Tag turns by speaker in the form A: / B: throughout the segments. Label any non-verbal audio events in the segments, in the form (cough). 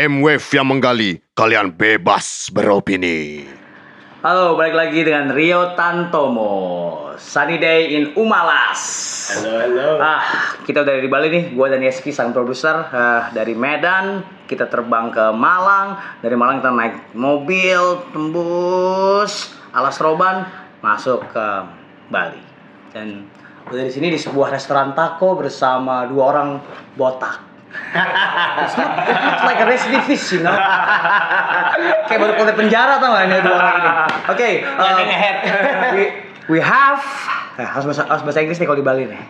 A: M-Wave yang menggali, kalian bebas beropini.
B: Halo, balik lagi dengan Rio Tantomo. Sunny day in Umalas.
C: Halo, halo.
B: Ah, kita dari di Bali nih. Gua dan Yeski sang produser Ah, dari Medan. Kita terbang ke Malang. Dari Malang kita naik mobil tembus Alas Roban masuk ke Bali. Dan gua dari sini di sebuah restoran taco bersama dua orang botak. It's not- it's like a recidivist, you know. Kayak baru keluar dari penjara tau gak ini dua orang ini. Oke, uh, we, we have Nah, harus bahasa, harus bahasa Inggris nih kalau di Bali
C: (laughs)
B: nih.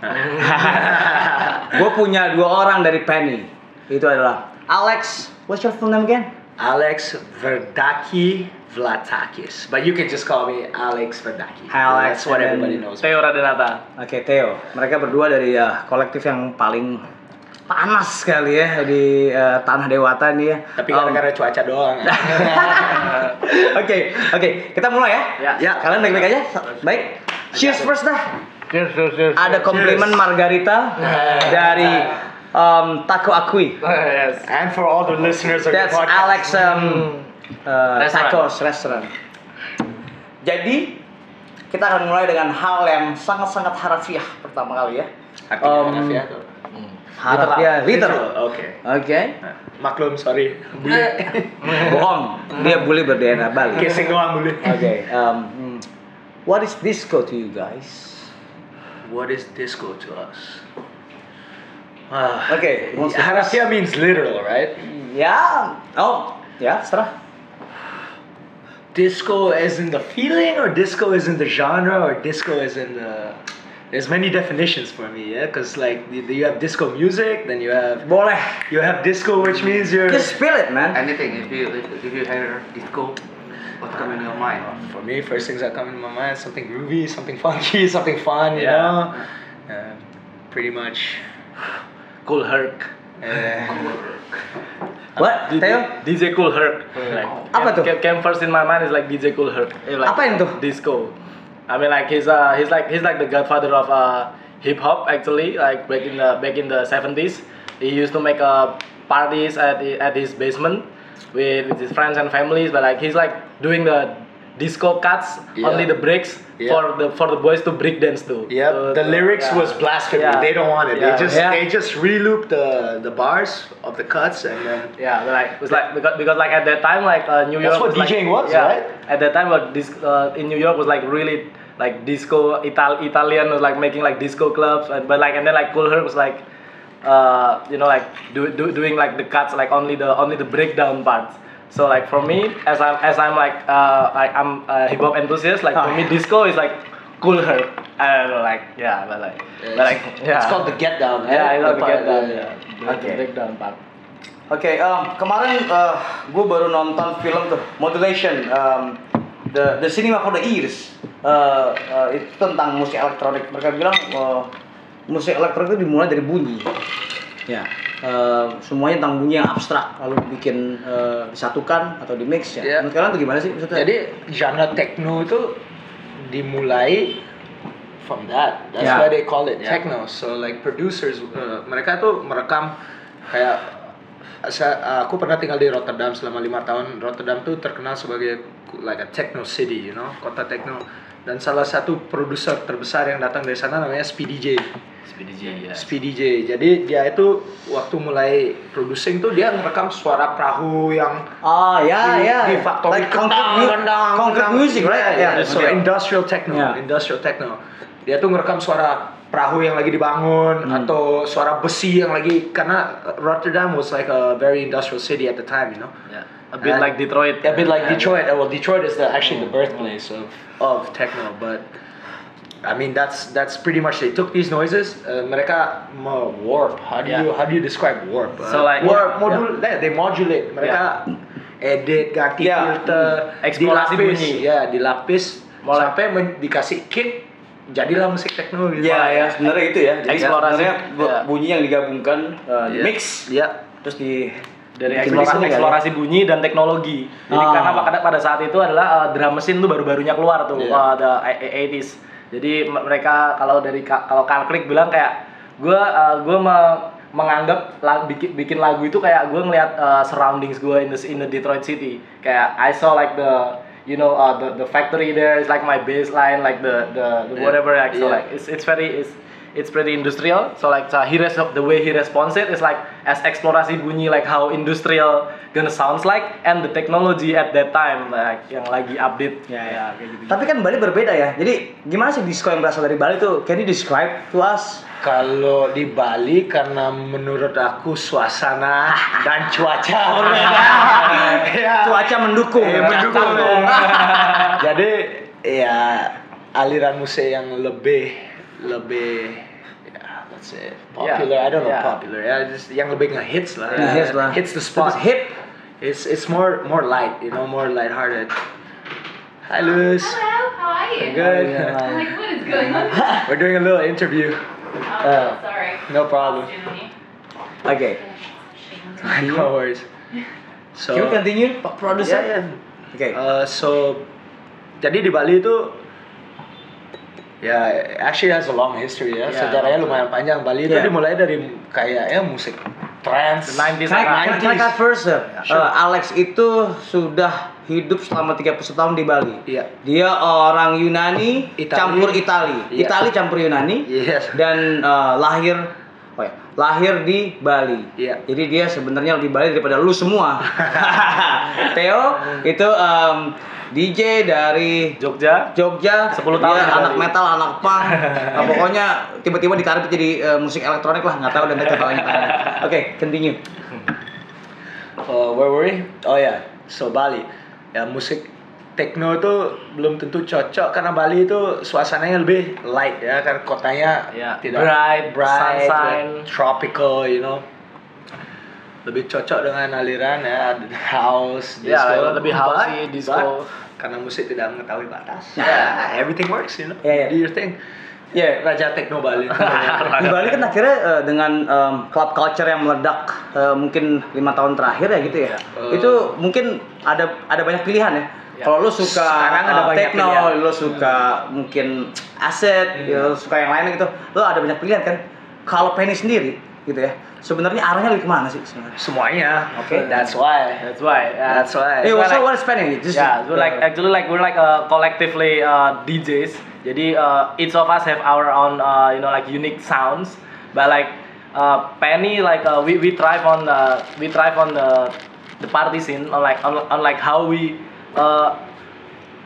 B: Gue punya dua orang dari Penny. Itu adalah Alex. What's your full name again?
C: Alex Verdaki Vlatakis. But you can just call me Alex Verdaki.
B: Hi, Alex,
C: That's what
B: and then-
C: everybody
B: (laughs)
C: knows.
D: Teo Radenata.
B: Oke Theo. Mereka berdua dari uh, kolektif yang paling panas sekali ya di uh, tanah dewata nih ya.
C: Tapi
B: Um,
C: gara-gara
B: (laughs)
C: cuaca doang.
B: Oke, oke, kita mulai ya.
D: Ya.
B: Ya, kalian baik-baik aja. Baik. Cheers first dah.
D: Cheers, cheers, cheers. Nah.
B: Ada komplimen Margarita dari um, Taco Akui.
D: Yes.
C: And for all the listeners of the
B: That's
C: podcast.
B: Alex um, uh,
D: Restaurant.
B: Tacos Restaurant. Jadi kita akan mulai dengan hal yang sangat-sangat harafiah pertama kali ya.
C: Artinya
B: Um,
C: Raffi atau-
B: Harafiah literal.
C: Oke.
B: Oke.
C: Nah, Maklum, sorry. Bule.
B: (laughs) Bohong. Dia bully berdana Bali. Oke.
C: Casing doang bule.
B: um, hmm. what is disco to you guys?
C: What is disco to us? Ah.
B: Oke, who wants to-
C: Harafia means literal, right?
B: Ya. Oh, ya, serah.
C: Disco is in the feeling, or disco is in the genre, or disco is in the. There's many definitions for me, yeah. Cause like you, you have disco music, then you have
B: Boleh.
C: you have disco, which means you're.
B: Just feel it, man.
E: Anything, if you if you hear disco, what comes in your mind?
C: For me, first things that come into my mind: something groovy, something funky, (laughs) something fun, you
D: Yeah.
C: know. Uh, pretty much. Cool Herc. Uh, (laughs)
B: What? Theo?
D: DJ Cool Herc. Like,
C: Oh.
B: Apa tuh?
D: Came, came first in my mind is like DJ Cool Herc. Eh, Like,
B: Apa yang tuh?
D: Disco. I mean like he's uh he's like he's like the godfather of uh hip hop actually like back in the back in the 70s he used to make uh parties at the- at his basement with, with his friends and families but like he's like doing the disco cuts
C: Yeah.
D: only the breaks
C: Yeah.
D: for the for the boys to break dance to.
C: Yep,
D: So-
C: the lyrics
D: Uh, yeah.
C: was blasphemy.
D: Yeah.
C: They don't want it. They
D: Yeah.
C: just
B: Yeah.
C: they just reloop the the bars of the cuts and then
D: Yeah, like it's like because, because like at that time like uh, New
C: That's
D: York.
C: what
D: was, like-
C: DJing was,
D: yeah,
C: right?
D: At that time, like this uh, in New York was like really like disco Ital- Italian was like making like disco clubs, and, but like and then like Cool Herc was like, uh, you know like do, do, doing like the cuts like only the only the breakdown parts. So like for me, as I'm as I'm like uh, I, I'm a hip hop enthusiast, like for
C: Ah.
D: me disco is like Cool Herc. I don't know, like yeah, but like but like yeah.
C: it's called the get down.
D: yeah, I love
C: The
D: the
C: part-
D: get down.
C: the-
D: Yeah, the,
B: Okay.
D: the breakdown part.
B: Oke, em, um, kemarin gue baru nonton film tuh Modulation, em, the the cinema for the ears. Eh, eh, itu tentang musik elektronik. Mereka bilang eh, musik elektronik itu dimulai dari bunyi. Ya, eh, semuanya tentang bunyi yang abstrak lalu dibikin eh, disatukan atau di mix ya.
C: Iya.
B: Menurut kalian itu gimana sih maksudnya?
C: Jadi genre techno itu dimulai from that. That's
B: Yeah.
C: why they call it
D: Yeah.
C: techno. So like producers uh, mereka tuh merekam kayak saya, aku pernah tinggal di Rotterdam selama lima tahun. Rotterdam tuh terkenal sebagai like a techno city, you know, kota techno. Dan salah satu produser terbesar yang datang dari sana namanya Speedy J.
D: SPDJ,
E: Iya. ya.
D: yeah.
C: Speedy J. Jadi dia itu waktu mulai producing tuh dia ngerekam suara perahu yang
B: Ah ya
C: di-
B: ya.
C: di faktor
B: like concrete, mu- concrete music, right?
C: Yeah,
B: Yeah.
C: Iya, so industrial techno,
B: Yeah.
C: industrial techno. Dia tuh ngerekam suara perahu yang lagi dibangun
B: Hmm.
C: atau suara besi yang lagi karena Rotterdam was like a very industrial city at the time, you know.
D: Yeah. A bit
B: Nah,
C: And-
D: like Detroit.
B: ya,
C: A bit like
D: Yeah.
C: Detroit. Uh, Well, Detroit is the, actually the birthplace of of techno, but I mean that's that's pretty much they took these noises. Uh, mereka me warp. How do
D: Yeah.
C: you how do you describe warp? Uh,
D: So like-
C: warp modul. yeah, They modulate. Mereka edit, ganti
B: Yeah.
C: filter,
D: Eksplorasi
C: dilapis.
D: bunyi.
C: Ya, dilapis
D: Mulai.
C: sampai men- dikasih kick. Jadilah musik techno gitu.
B: Ya ya sebenarnya itu ya. Jadi
D: Eksplorasi. Iya.
B: sebenarnya bu-
D: Ya.
B: bunyi yang digabungkan
D: Uh,
B: eh, di
C: Yeah.
B: mix
C: Yeah.
B: terus di
D: dari
B: bikin
D: eksplorasi,
B: mix kali ya.
D: eksplorasi bunyi dan teknologi. Jadi
B: Ah.
D: karena pada pada saat itu adalah uh, drum mesin tuh baru-barunya keluar tuh
C: Iya.
D: uh, the 80s. Jadi m- mereka kalau dari Ka- kalau Karl Krik bilang kayak gue gue eh, me menganggap la- bikin, bikin lagu itu kayak gue ngeliat uh, surroundings gue in the in the Detroit city kayak I saw like the you know uh, the the factory there is like my baseline like the the, the
C: Yeah.
D: whatever like so
C: Yeah.
D: like it's it's very it's it's pretty industrial so like so he res- the way he responds it is like as eksplorasi bunyi like how industrial gonna sounds like and the technology at that time like yang lagi update
B: Ya, ya.
D: kayak gitu
B: Tapi kan Bali berbeda ya. Jadi gimana sih disco yang berasal dari Bali tuh? Can you describe to us?
C: Kalau di Bali karena menurut aku
D: (laughs)
C: suasana dan cuaca (laughs) berbeda. Ya.
B: Cuaca mendukung.
C: Eh, mendukung.
B: (laughs)
C: (laughs) Jadi ya aliran musik yang lebih lebih ya, let's say popular.
D: Yeah.
C: I don't know
D: Yeah.
C: popular. Ya just yang lebih ngehits lah.
B: Yeah, hits lah.
C: Hits the spot.
B: It's hip.
C: It's it's more more light, you know, more lighthearted. Halus.
F: Hello, how are you?
C: Good.
F: I'm like, what is going on?
C: We're doing a little interview.
F: oh,
C: Uh,
F: sorry.
C: no problem.
B: Oke.
C: No worries. So
B: Can we continue, Pak Producer?
C: Yeah, yeah.
B: Oke.
C: Uh, so jadi di Bali itu ya actually has a long history ya.
D: Yeah.
C: Sejarahnya lumayan panjang. Bali itu
B: Yeah.
C: dimulai dari kayaknya musik trance.
D: 90s.
B: Can I- can I cut
C: 90s.
B: first, sir? Uh, Alex itu sudah hidup selama 30 tahun di Bali.
C: Iya.
B: Dia orang Yunani
C: Itali.
B: campur Itali.
C: Iya.
B: Itali campur Yunani.
C: Yes.
B: Dan uh, lahir oh ya, lahir di Bali.
C: Iya.
B: Jadi dia sebenarnya lebih Bali daripada lu semua. Theo itu um, DJ dari
D: Jogja
B: Jogja
D: 10 tahun
B: dia
D: di
B: anak
D: Bali.
B: metal anak punk Nah, pokoknya tiba-tiba ditarik jadi eh, musik elektronik lah nggak tahu dan ketahuan oke continue
C: Uh, where were we? Oh ya, so Bali. Ya musik techno itu belum tentu cocok karena Bali itu suasananya lebih light ya karena kotanya
D: Ya,
C: tidak
D: bright,
C: bright,
D: sunshine.
C: like tropical, you know. Lebih cocok dengan aliran ya house, disco,
D: Ya, lebih housey,
C: But-
D: disco.
C: but karena musik tidak mengetahui batas. Ya, everything works, you know.
B: Ya, ya.
C: Do your thing. Ya, raja techno
D: (laughs)
C: Bali.
B: di Bali kan akhirnya eh, dengan em, club culture yang meledak eh, mungkin lima tahun terakhir ya gitu ya
C: Eh.
B: itu mungkin ada ada banyak pilihan ya kalau lu suka
C: Sekarang ada
B: eh,
C: banyak
B: techno,
C: pilihan. Iya.
B: lu suka mungkin aset, ya, lu suka yang lain gitu, lu ada banyak pilihan kan. Kalau Penny sendiri gitu ya, sebenarnya arahnya lebih kemana sih sebenarnya?
C: Semuanya.
B: Okay.
C: that's why.
D: that's why uh,
C: That's why.
B: Eh,
D: why
B: so
D: like-
B: what is Penny? Just-
D: yeah we're like actually like we're like uh, collectively uh, DJs jadi uh, each of us have our own uh, you know like unique sounds but like uh, Penny like uh, we we thrive on uh, we thrive on the the party scene on like on, on like how we uh,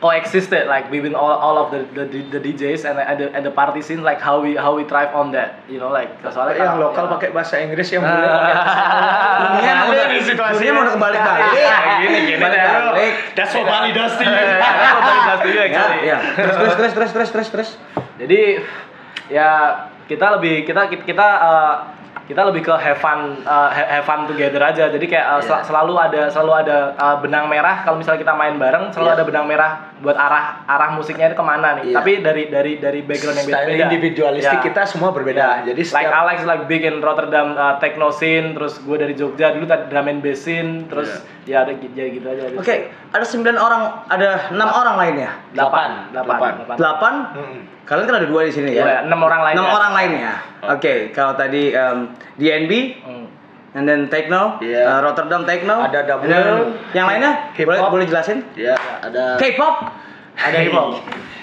D: coexisted like within all, all of the, the the DJs and and the, and the party scene like how we how we thrive on that you know like soalnya
C: yang
D: kalau-
C: lokal
D: yeah. (laughs)
C: pakai bahasa Inggris
D: Ah.
C: yang
B: dunia mau
C: boleh pakai bahasa Balik
B: udah
C: nih situasinya.
B: dunia mau udah kebalik-balik
D: Iya, gini, gini,
B: Balik-balik.
C: That's what Bali does to you.
B: ya ya terus terus terus terus terus terus terus
D: Jadi ya kita lebih kita kita uh, kita lebih ke have fun uh, ha- have fun together aja. Jadi kayak uh,
C: Iya.
D: sel- selalu ada selalu ada uh, benang merah kalau misalnya kita main bareng selalu
C: Iya.
D: ada benang merah buat arah arah musiknya itu kemana nih.
C: Iya.
D: Tapi dari dari dari background yang beda.
C: Style individualistik
D: Ya.
C: kita semua berbeda. Jadi
D: like
C: setiap
D: Alex like big in Rotterdam uh, techno scene, terus gue dari Jogja dulu tadi drum and bass scene, terus
C: Iya.
D: ya ada gi- ya gitu aja.
B: oke ada sembilan orang ada enam orang lainnya
D: Delapan, delapan,
C: Ah. Delapan.
D: delapan.
B: delapan
C: Mm-mm.
B: kalian kan ada dua di sini
D: Iya,
B: ya
D: enam orang lainnya.
B: enam orang lainnya
D: Oh.
B: oke kalau tadi um, DNB
D: Hmm.
B: and then Techno
C: Iya.
B: uh, Rotterdam Techno
C: Ada
B: And
C: double.
B: then yang lainnya
C: Hip-hop.
B: boleh boleh jelasin
C: ya ada
B: K-pop
D: Eh. ada hip
B: (laughs)
D: hop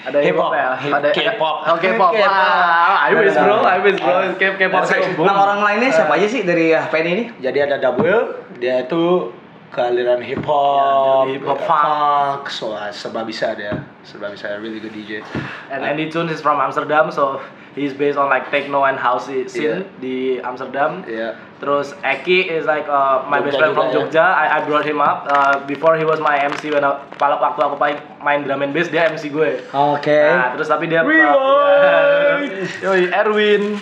D: ada hip hop ya ada
C: K-pop.
D: oh K-pop
C: K-pop.
D: ah I wish bro I wish bro K- K-pop
B: Oke,
D: Eh. sih
B: enam orang lainnya siapa aja sih dari uh, Penny ini
C: jadi ada double dia itu ke aliran hip hop,
D: Ya, dari hip hop,
C: funk, so ah, serba bisa dia, serba bisa really good DJ.
D: and Andy Tune is from Amsterdam so he's based on like techno and house scene
C: Yeah.
D: di Amsterdam
C: Ya,
D: Terus Eki is like uh, my best
C: Jogja juga
D: friend from
C: ya.
D: Jogja. I, I brought him up uh, before he was my MC when I, kalau waktu aku main, main drum and bass dia MC gue.
B: oke
D: Nah, terus tapi dia (laughs) Yoi, Erwin.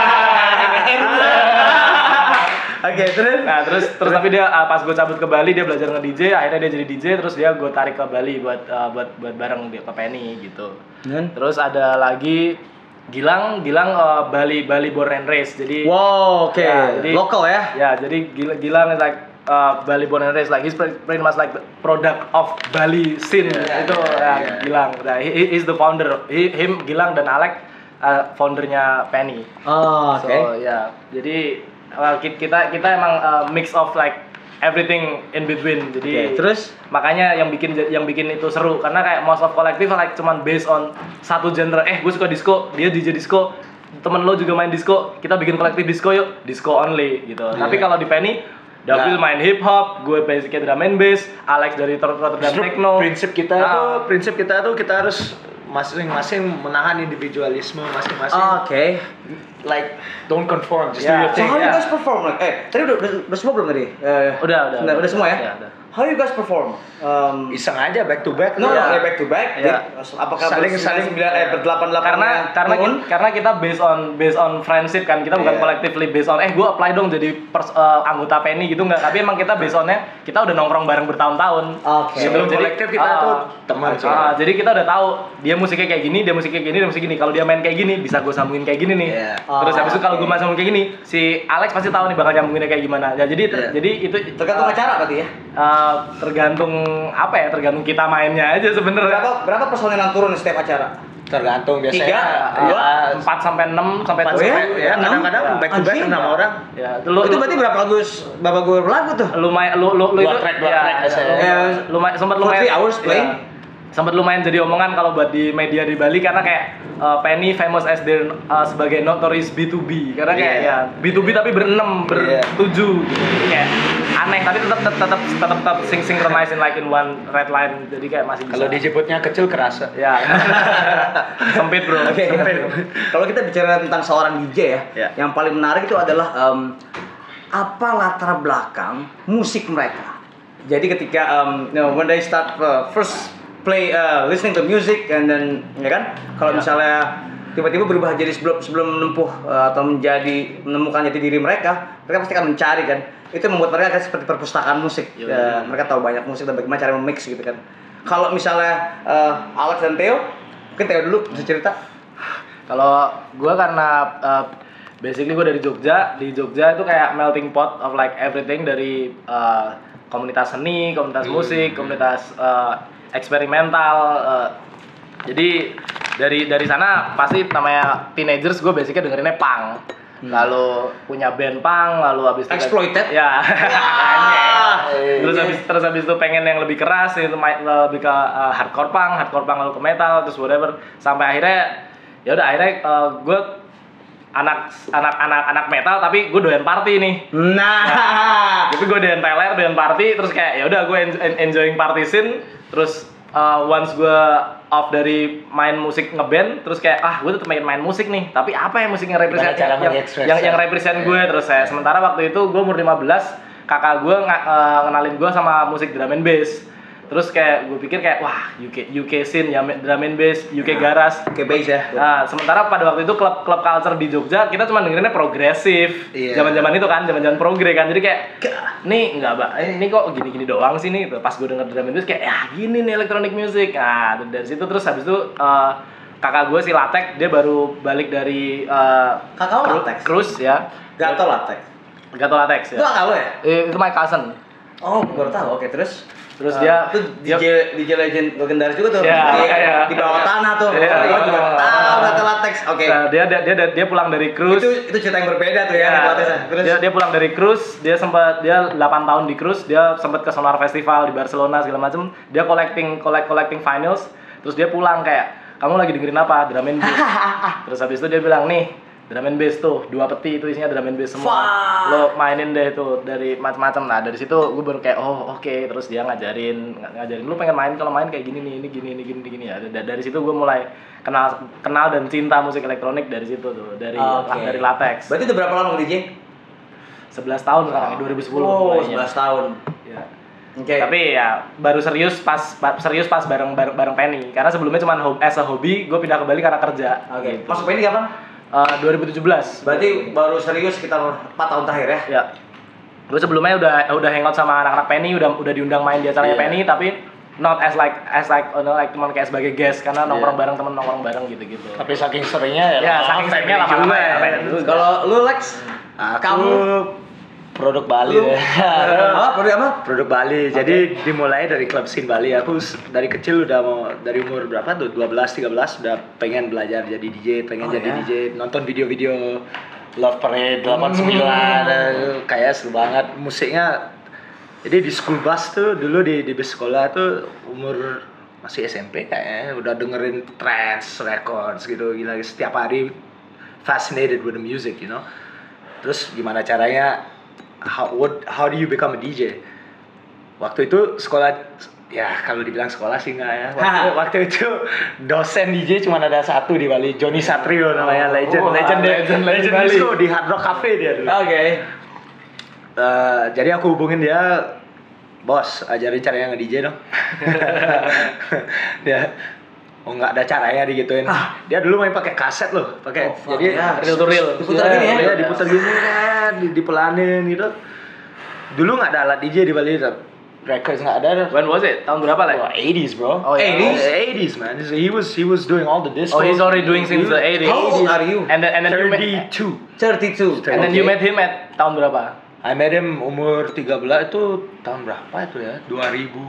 D: (laughs)
B: oke terus
D: Nah terus terus tapi dia uh, pas gue cabut ke Bali dia belajar nge DJ akhirnya dia jadi DJ terus dia gue tarik ke Bali buat uh, buat buat bareng dia ke Penny gitu.
B: Dan?
D: Terus ada lagi Gilang Gilang uh, Bali Bali born and raised jadi
B: Wow, oke.
D: Ya, jadi-
B: Lokal ya.
D: ya jadi Gil- Gilang is like uh, Bali born and raised like he's pre- pretty much like the product of Bali scene
C: Yeah,
D: itu
C: yeah,
D: ya,
C: yeah.
D: Gilang nah, he, he is the founder he, him Gilang dan Alek uh, foundernya Penny.
B: Oh, oke.
D: So yeah, jadi well, ki- kita kita emang uh, mix of like everything in between. Jadi
B: Oke, terus?
D: makanya yang bikin yang bikin itu seru karena kayak most of collective like cuman based on satu genre. Eh, gue suka disco, dia DJ disco. Temen lo juga main disco, kita bikin kolektif disco yuk, disco only gitu. Tapi kalau di Penny
C: Iya.
D: Davil
C: Nah.
D: main hip hop, gue basicnya drum and bass, Alex dari Rotterdam
C: Justru
D: Techno.
C: prinsip kita
D: Ah.
C: tuh prinsip kita tuh kita harus masing-masing menahan individualisme masing-masing
D: Ah.
B: Oh, Oke.
C: like don't conform just do your
D: Yeah.
B: Ya. So
C: thing
B: how you
D: yeah.
B: guys perform? Like, eh, tadi udah, udah, udah semua belum tadi? Eh,
D: ya. Udah, udah,
B: Udah,
D: udah.
B: semua ya?
D: Iya, udah.
B: How you guys perform? Um,
C: iseng aja back to back
B: no,
D: Nah.
B: no,
D: Ya.
C: Iya.
B: yeah. back to back. Jadi,
C: Iya.
B: apakah
C: Saling- saling-
B: bersembilan- eh berdelapan delapan
D: karena karena kita, karena kita based on based on friendship kan kita
C: Iya.
D: bukan collectively based on eh gue apply dong jadi pers- eh, anggota Penny gitu nggak tapi emang kita based onnya kita udah nongkrong bareng bertahun-tahun Gitu.
B: Oke.
C: Sebelum kolektif kita
D: ah,
C: tuh teman sih.
D: ah, jadi kita udah tahu dia musiknya kayak gini dia musiknya kayak gini dia musiknya gini kalau dia main kayak gini bisa gue sambungin kayak gini nih
C: Iya.
D: terus habis itu kalau gue
B: Oke.
D: masih kayak gini si Alex pasti tahu nih bakal nyambunginnya kayak gimana ya jadi ter-
C: Iya.
D: jadi itu
B: tergantung
D: eh,
B: acara berarti ya.
D: eh, tergantung apa ya tergantung kita mainnya aja sebenarnya
B: Berapa berapa personil yang turun di setiap acara?
C: tergantung biasanya
B: Tiga,
C: ah,
B: dua,
D: empat sampai enam sampai
C: empat
B: Oh ya?
C: sampai- ya
B: Enam?
C: kadang-kadang back to back
B: Anjing.
C: enam orang
D: Ya, itu lu,
B: itu
D: lu-
B: berarti berapa lagu berapa gue lagu tuh?
D: lumayan lu lu, lu
C: Dua
D: itu
C: track, dua track biasanya.
D: lu-
B: Ya.
D: lumayan sempat
B: For
D: lumayan
B: three hours playing.
D: ya. sempat lumayan jadi omongan kalau buat di media di Bali karena kayak uh, Penny famous as their uh, sebagai notorious B2B karena kayak
C: Iya.
D: ya B2B tapi berenam
C: Iya.
D: bertujuh gitu. Jadi kayak aneh tapi tetap tetap tetap tetap, tetap sing synchronize in like in one red line jadi kayak masih bisa
C: kalau dijemputnya kecil kerasa
D: ya (laughs) sempit bro
B: Oke.
D: sempit
B: Kalau kita bicara tentang seorang DJ ya,
C: Ya.
B: yang paling menarik itu adalah um, em, apa latar belakang musik mereka. Jadi ketika em, you know, when they start uh, first play uh, listening to music and then ya kan, kalau misalnya tiba-tiba berubah jadi sebelum sebelum menempuh uh, atau menjadi menemukan jati diri mereka, mereka pasti akan mencari kan. Itu yang membuat mereka akan seperti perpustakaan musik. Ya, mereka tahu banyak musik dan bagaimana cara memix gitu kan. Kalau misalnya eh, Alex dan Theo, mungkin Theo dulu bisa cerita.
D: Kalau gua karena uh, basically gue dari Jogja, di Jogja itu kayak melting pot of like everything dari uh, komunitas seni, komunitas musik, komunitas uh, eksperimental. uh, jadi dari dari sana pasti namanya teenagers gue basicnya dengerinnya punk. Lalu punya band punk, lalu habis itu
B: Exploited?
D: (laughs) Ya.
C: Eh,
D: terus habis terus habis itu pengen yang lebih keras itu main- lebih ke uh, hardcore punk hardcore punk lalu ke metal terus whatever sampai akhirnya ya udah akhirnya gue anak anak anak anak metal tapi gue doyan party nih
B: Nah,
D: tapi gue doyan teler doyan party terus kayak ya udah gue enjoying party scene terus uh, once gue off dari main musik ngeband terus kayak ah gue tetap main main musik nih tapi apa yang musik yang represent
C: cara
D: yang,
C: mengekspresi?
D: yang, yang represent gue terus saya sementara waktu itu gue umur 15 kakak gue nga- eh, ngenalin gue sama musik drum and bass terus kayak gue pikir kayak wah UK UK scene ya drum and bass UK garage
B: oke baik ya.
D: Nah, sementara pada waktu itu klub klub culture di Jogja kita cuma dengerinnya progresif.
C: Iya.
D: Zaman-zaman itu kan, zaman-zaman progre kan. Jadi kayak nih enggak, Mbak. eh, Ini kok gini-gini doang sih nih. gitu. Pas gue denger drum and bass kayak ya gini nih electronic music. Nah, dari situ terus habis itu eh, kakak gue si Latek dia baru balik dari eh,
B: Kakak lo
D: cru-
B: Latek?
D: cruise ya.
B: Gato latek.
D: Gato Latek
B: Itu
D: ya.
B: kakak lo ya?
D: Eh, itu my cousin.
B: Oh, gue baru tahu. Oke, terus
D: Terus
B: Eh,
D: dia
B: itu DJ DJ legend legendaris juga tuh.
D: Ya,
B: di,
D: makanya.
B: di bawah tanah tuh.
D: Iya.
B: Gue juga tahu Gato latex. Oke.
D: Nah, dia, dia dia dia pulang dari cruise.
B: Itu itu cerita yang berbeda tuh ya,
D: Ya,
B: Gato latex. Terus
D: dia, dia pulang dari cruise, dia sempat dia 8 tahun di cruise, dia sempat ke Sonar Festival di Barcelona segala macem Dia collecting collect collecting finals, terus dia pulang kayak kamu lagi dengerin apa? Drum
B: (laughs)
D: and bass. terus habis itu dia bilang nih drum and bass tuh dua peti itu isinya drum and bass semua
B: Fuck.
D: lo mainin deh itu dari macam-macam nah dari situ gue baru kayak oh oke terus dia ngajarin ng- ngajarin lu pengen main kalau main kayak gini nih ini gini ini gini gini ya Da- dari situ gue mulai kenal kenal dan cinta musik elektronik dari situ tuh dari
B: Oke.
D: dari latex
B: berarti udah berapa lama DJ?
D: 11 tahun sekarang 2010
B: Oh,
D: mulainya.
B: 11 tahun.
D: Ya.
B: Oke.
D: Tapi ya baru serius pas ba- serius pas bareng bareng, bareng Penny karena sebelumnya cuma hob as a hobi gue pindah ke Bali karena kerja.
B: Oke.
D: Gitu.
B: Masuk ini kapan?
D: Eh, 2017.
B: Berarti baru serius sekitar 4 tahun terakhir ya.
D: ya. Gue sebelumnya udah udah hangout sama anak-anak Penny udah udah diundang main di acaranya
C: Iya.
D: Penny tapi not as like as like you know, like cuman kayak sebagai guest karena nongkrong
B: Iya.
D: bareng temen nongkrong bareng gitu-gitu.
C: tapi saking seringnya ya
D: Ya, saking seringnya lama-lama ya. Penny juga.
B: Kalau lu Lex,
C: Aku
B: kamu
D: produk Bali
C: Lu-
D: ya.
B: (laughs)
C: Ah, produk apa? (laughs) Produk Bali. Jadi dimulai dari klub scene Bali. Aku s- dari kecil udah mau dari umur berapa tuh? 12, 13 udah pengen belajar jadi DJ, pengen
B: Oh,
C: jadi
B: ya?
C: DJ, nonton video-video Love Parade 89 eh, kayak seru banget musiknya. Jadi di school bus tuh dulu di di bus sekolah tuh umur masih SMP kayaknya ya, udah dengerin trance records gitu gila setiap hari fascinated with the music you know terus gimana caranya how what how do you become a DJ waktu itu sekolah ya kalau dibilang sekolah sih nggak ya
D: (laughs)
C: waktu, waktu itu dosen DJ cuma ada satu di Bali Joni Satrio namanya legend
D: Oh,
C: legend deh
D: legend- legend Bali.
C: disco di Hard Rock Cafe dia dulu
D: Oke.
C: Eh, jadi aku hubungin dia bos ajarin caranya nge DJ
D: (laughs)
C: dong dia oh nggak ada caranya digituin
D: Ah.
C: dia dulu main pakai kaset loh pakai
D: Oh,
C: jadi
B: ya,
D: iya.
B: reel to reel.
C: diputar
B: Iya,
C: gini ya,
B: iya,
C: diputar gini kan di- dipelanin gitu dulu nggak ada alat DJ di Bali records nggak ada
D: When was it? Tahun berapa lah?
C: Wah, 80s bro
D: Oh, yeah.
B: 80s?
C: 80s man he was he was doing all the disco
D: Oh, he's already doing since the 80s.
B: How old are you?
D: And then and then you met
C: 32
B: 32.
D: and then you met him at tahun berapa?
C: I met him umur 13 itu tahun berapa itu ya? 2000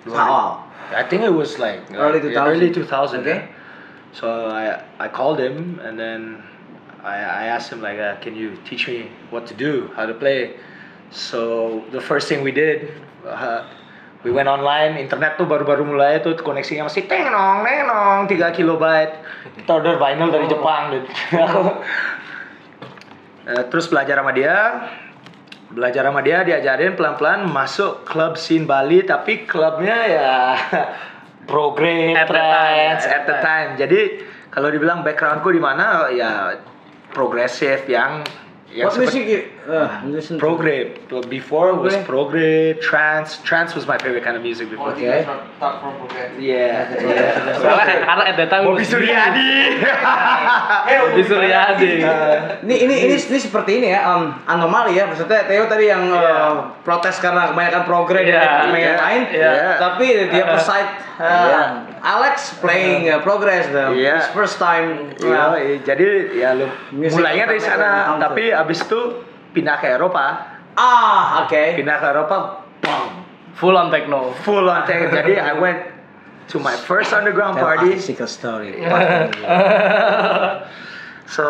B: Awal.
C: 2000. I think it was like
B: Early
C: yeah,
B: 2000.
C: early 2000.
B: Okay.
C: Yeah. So I I called him and then I I asked him like, uh, "Can you teach me what to do, how to play?" So the first thing we did uh, we went online, internet tuh baru-baru mulai tuh koneksinya masih tenong tenong 3 kilobyte. Kita order vinyl
B: Oh.
C: dari Jepang, dude. (laughs) Eh, terus belajar sama dia belajar sama dia diajarin pelan-pelan masuk klub scene Bali tapi klubnya ya (laughs) progre
D: At the
C: trance
D: time.
C: at the time jadi kalau dibilang backgroundku di mana ya progresif yang yang
B: What music
C: seperti
B: you uh, listen to?
C: progre before was
B: Progre? Oh,
C: progre trance trance was my favorite kind of music before
E: you guys are start from progress.
C: yeah,
B: Iya.
C: yeah.
D: Soalnya kan karena at that time
C: Bobby Suryadi
D: Bobby Suryadi.
B: Ini ini ini ini seperti ini ya, um, anomali ya. Maksudnya Theo tadi yang uh, protes karena kebanyakan progres
D: Iya,
B: dan lain
D: iya,
B: lain.
D: iya.
B: Tapi dia peside uh,
C: Iya.
B: Alex playing uh, progress the
C: Iya.
B: his first time. uh,
C: Iya, iya. jadi ya lu
B: Music
C: mulainya dari
B: pertama yang
C: sana,
B: kamu
C: tapi abis itu pindah ke Eropa.
B: Ah, oke.
C: Pindah ke Eropa, bang,
D: Full on techno.
C: full on tank. Jadi I went to my first underground party.
B: story.
C: So,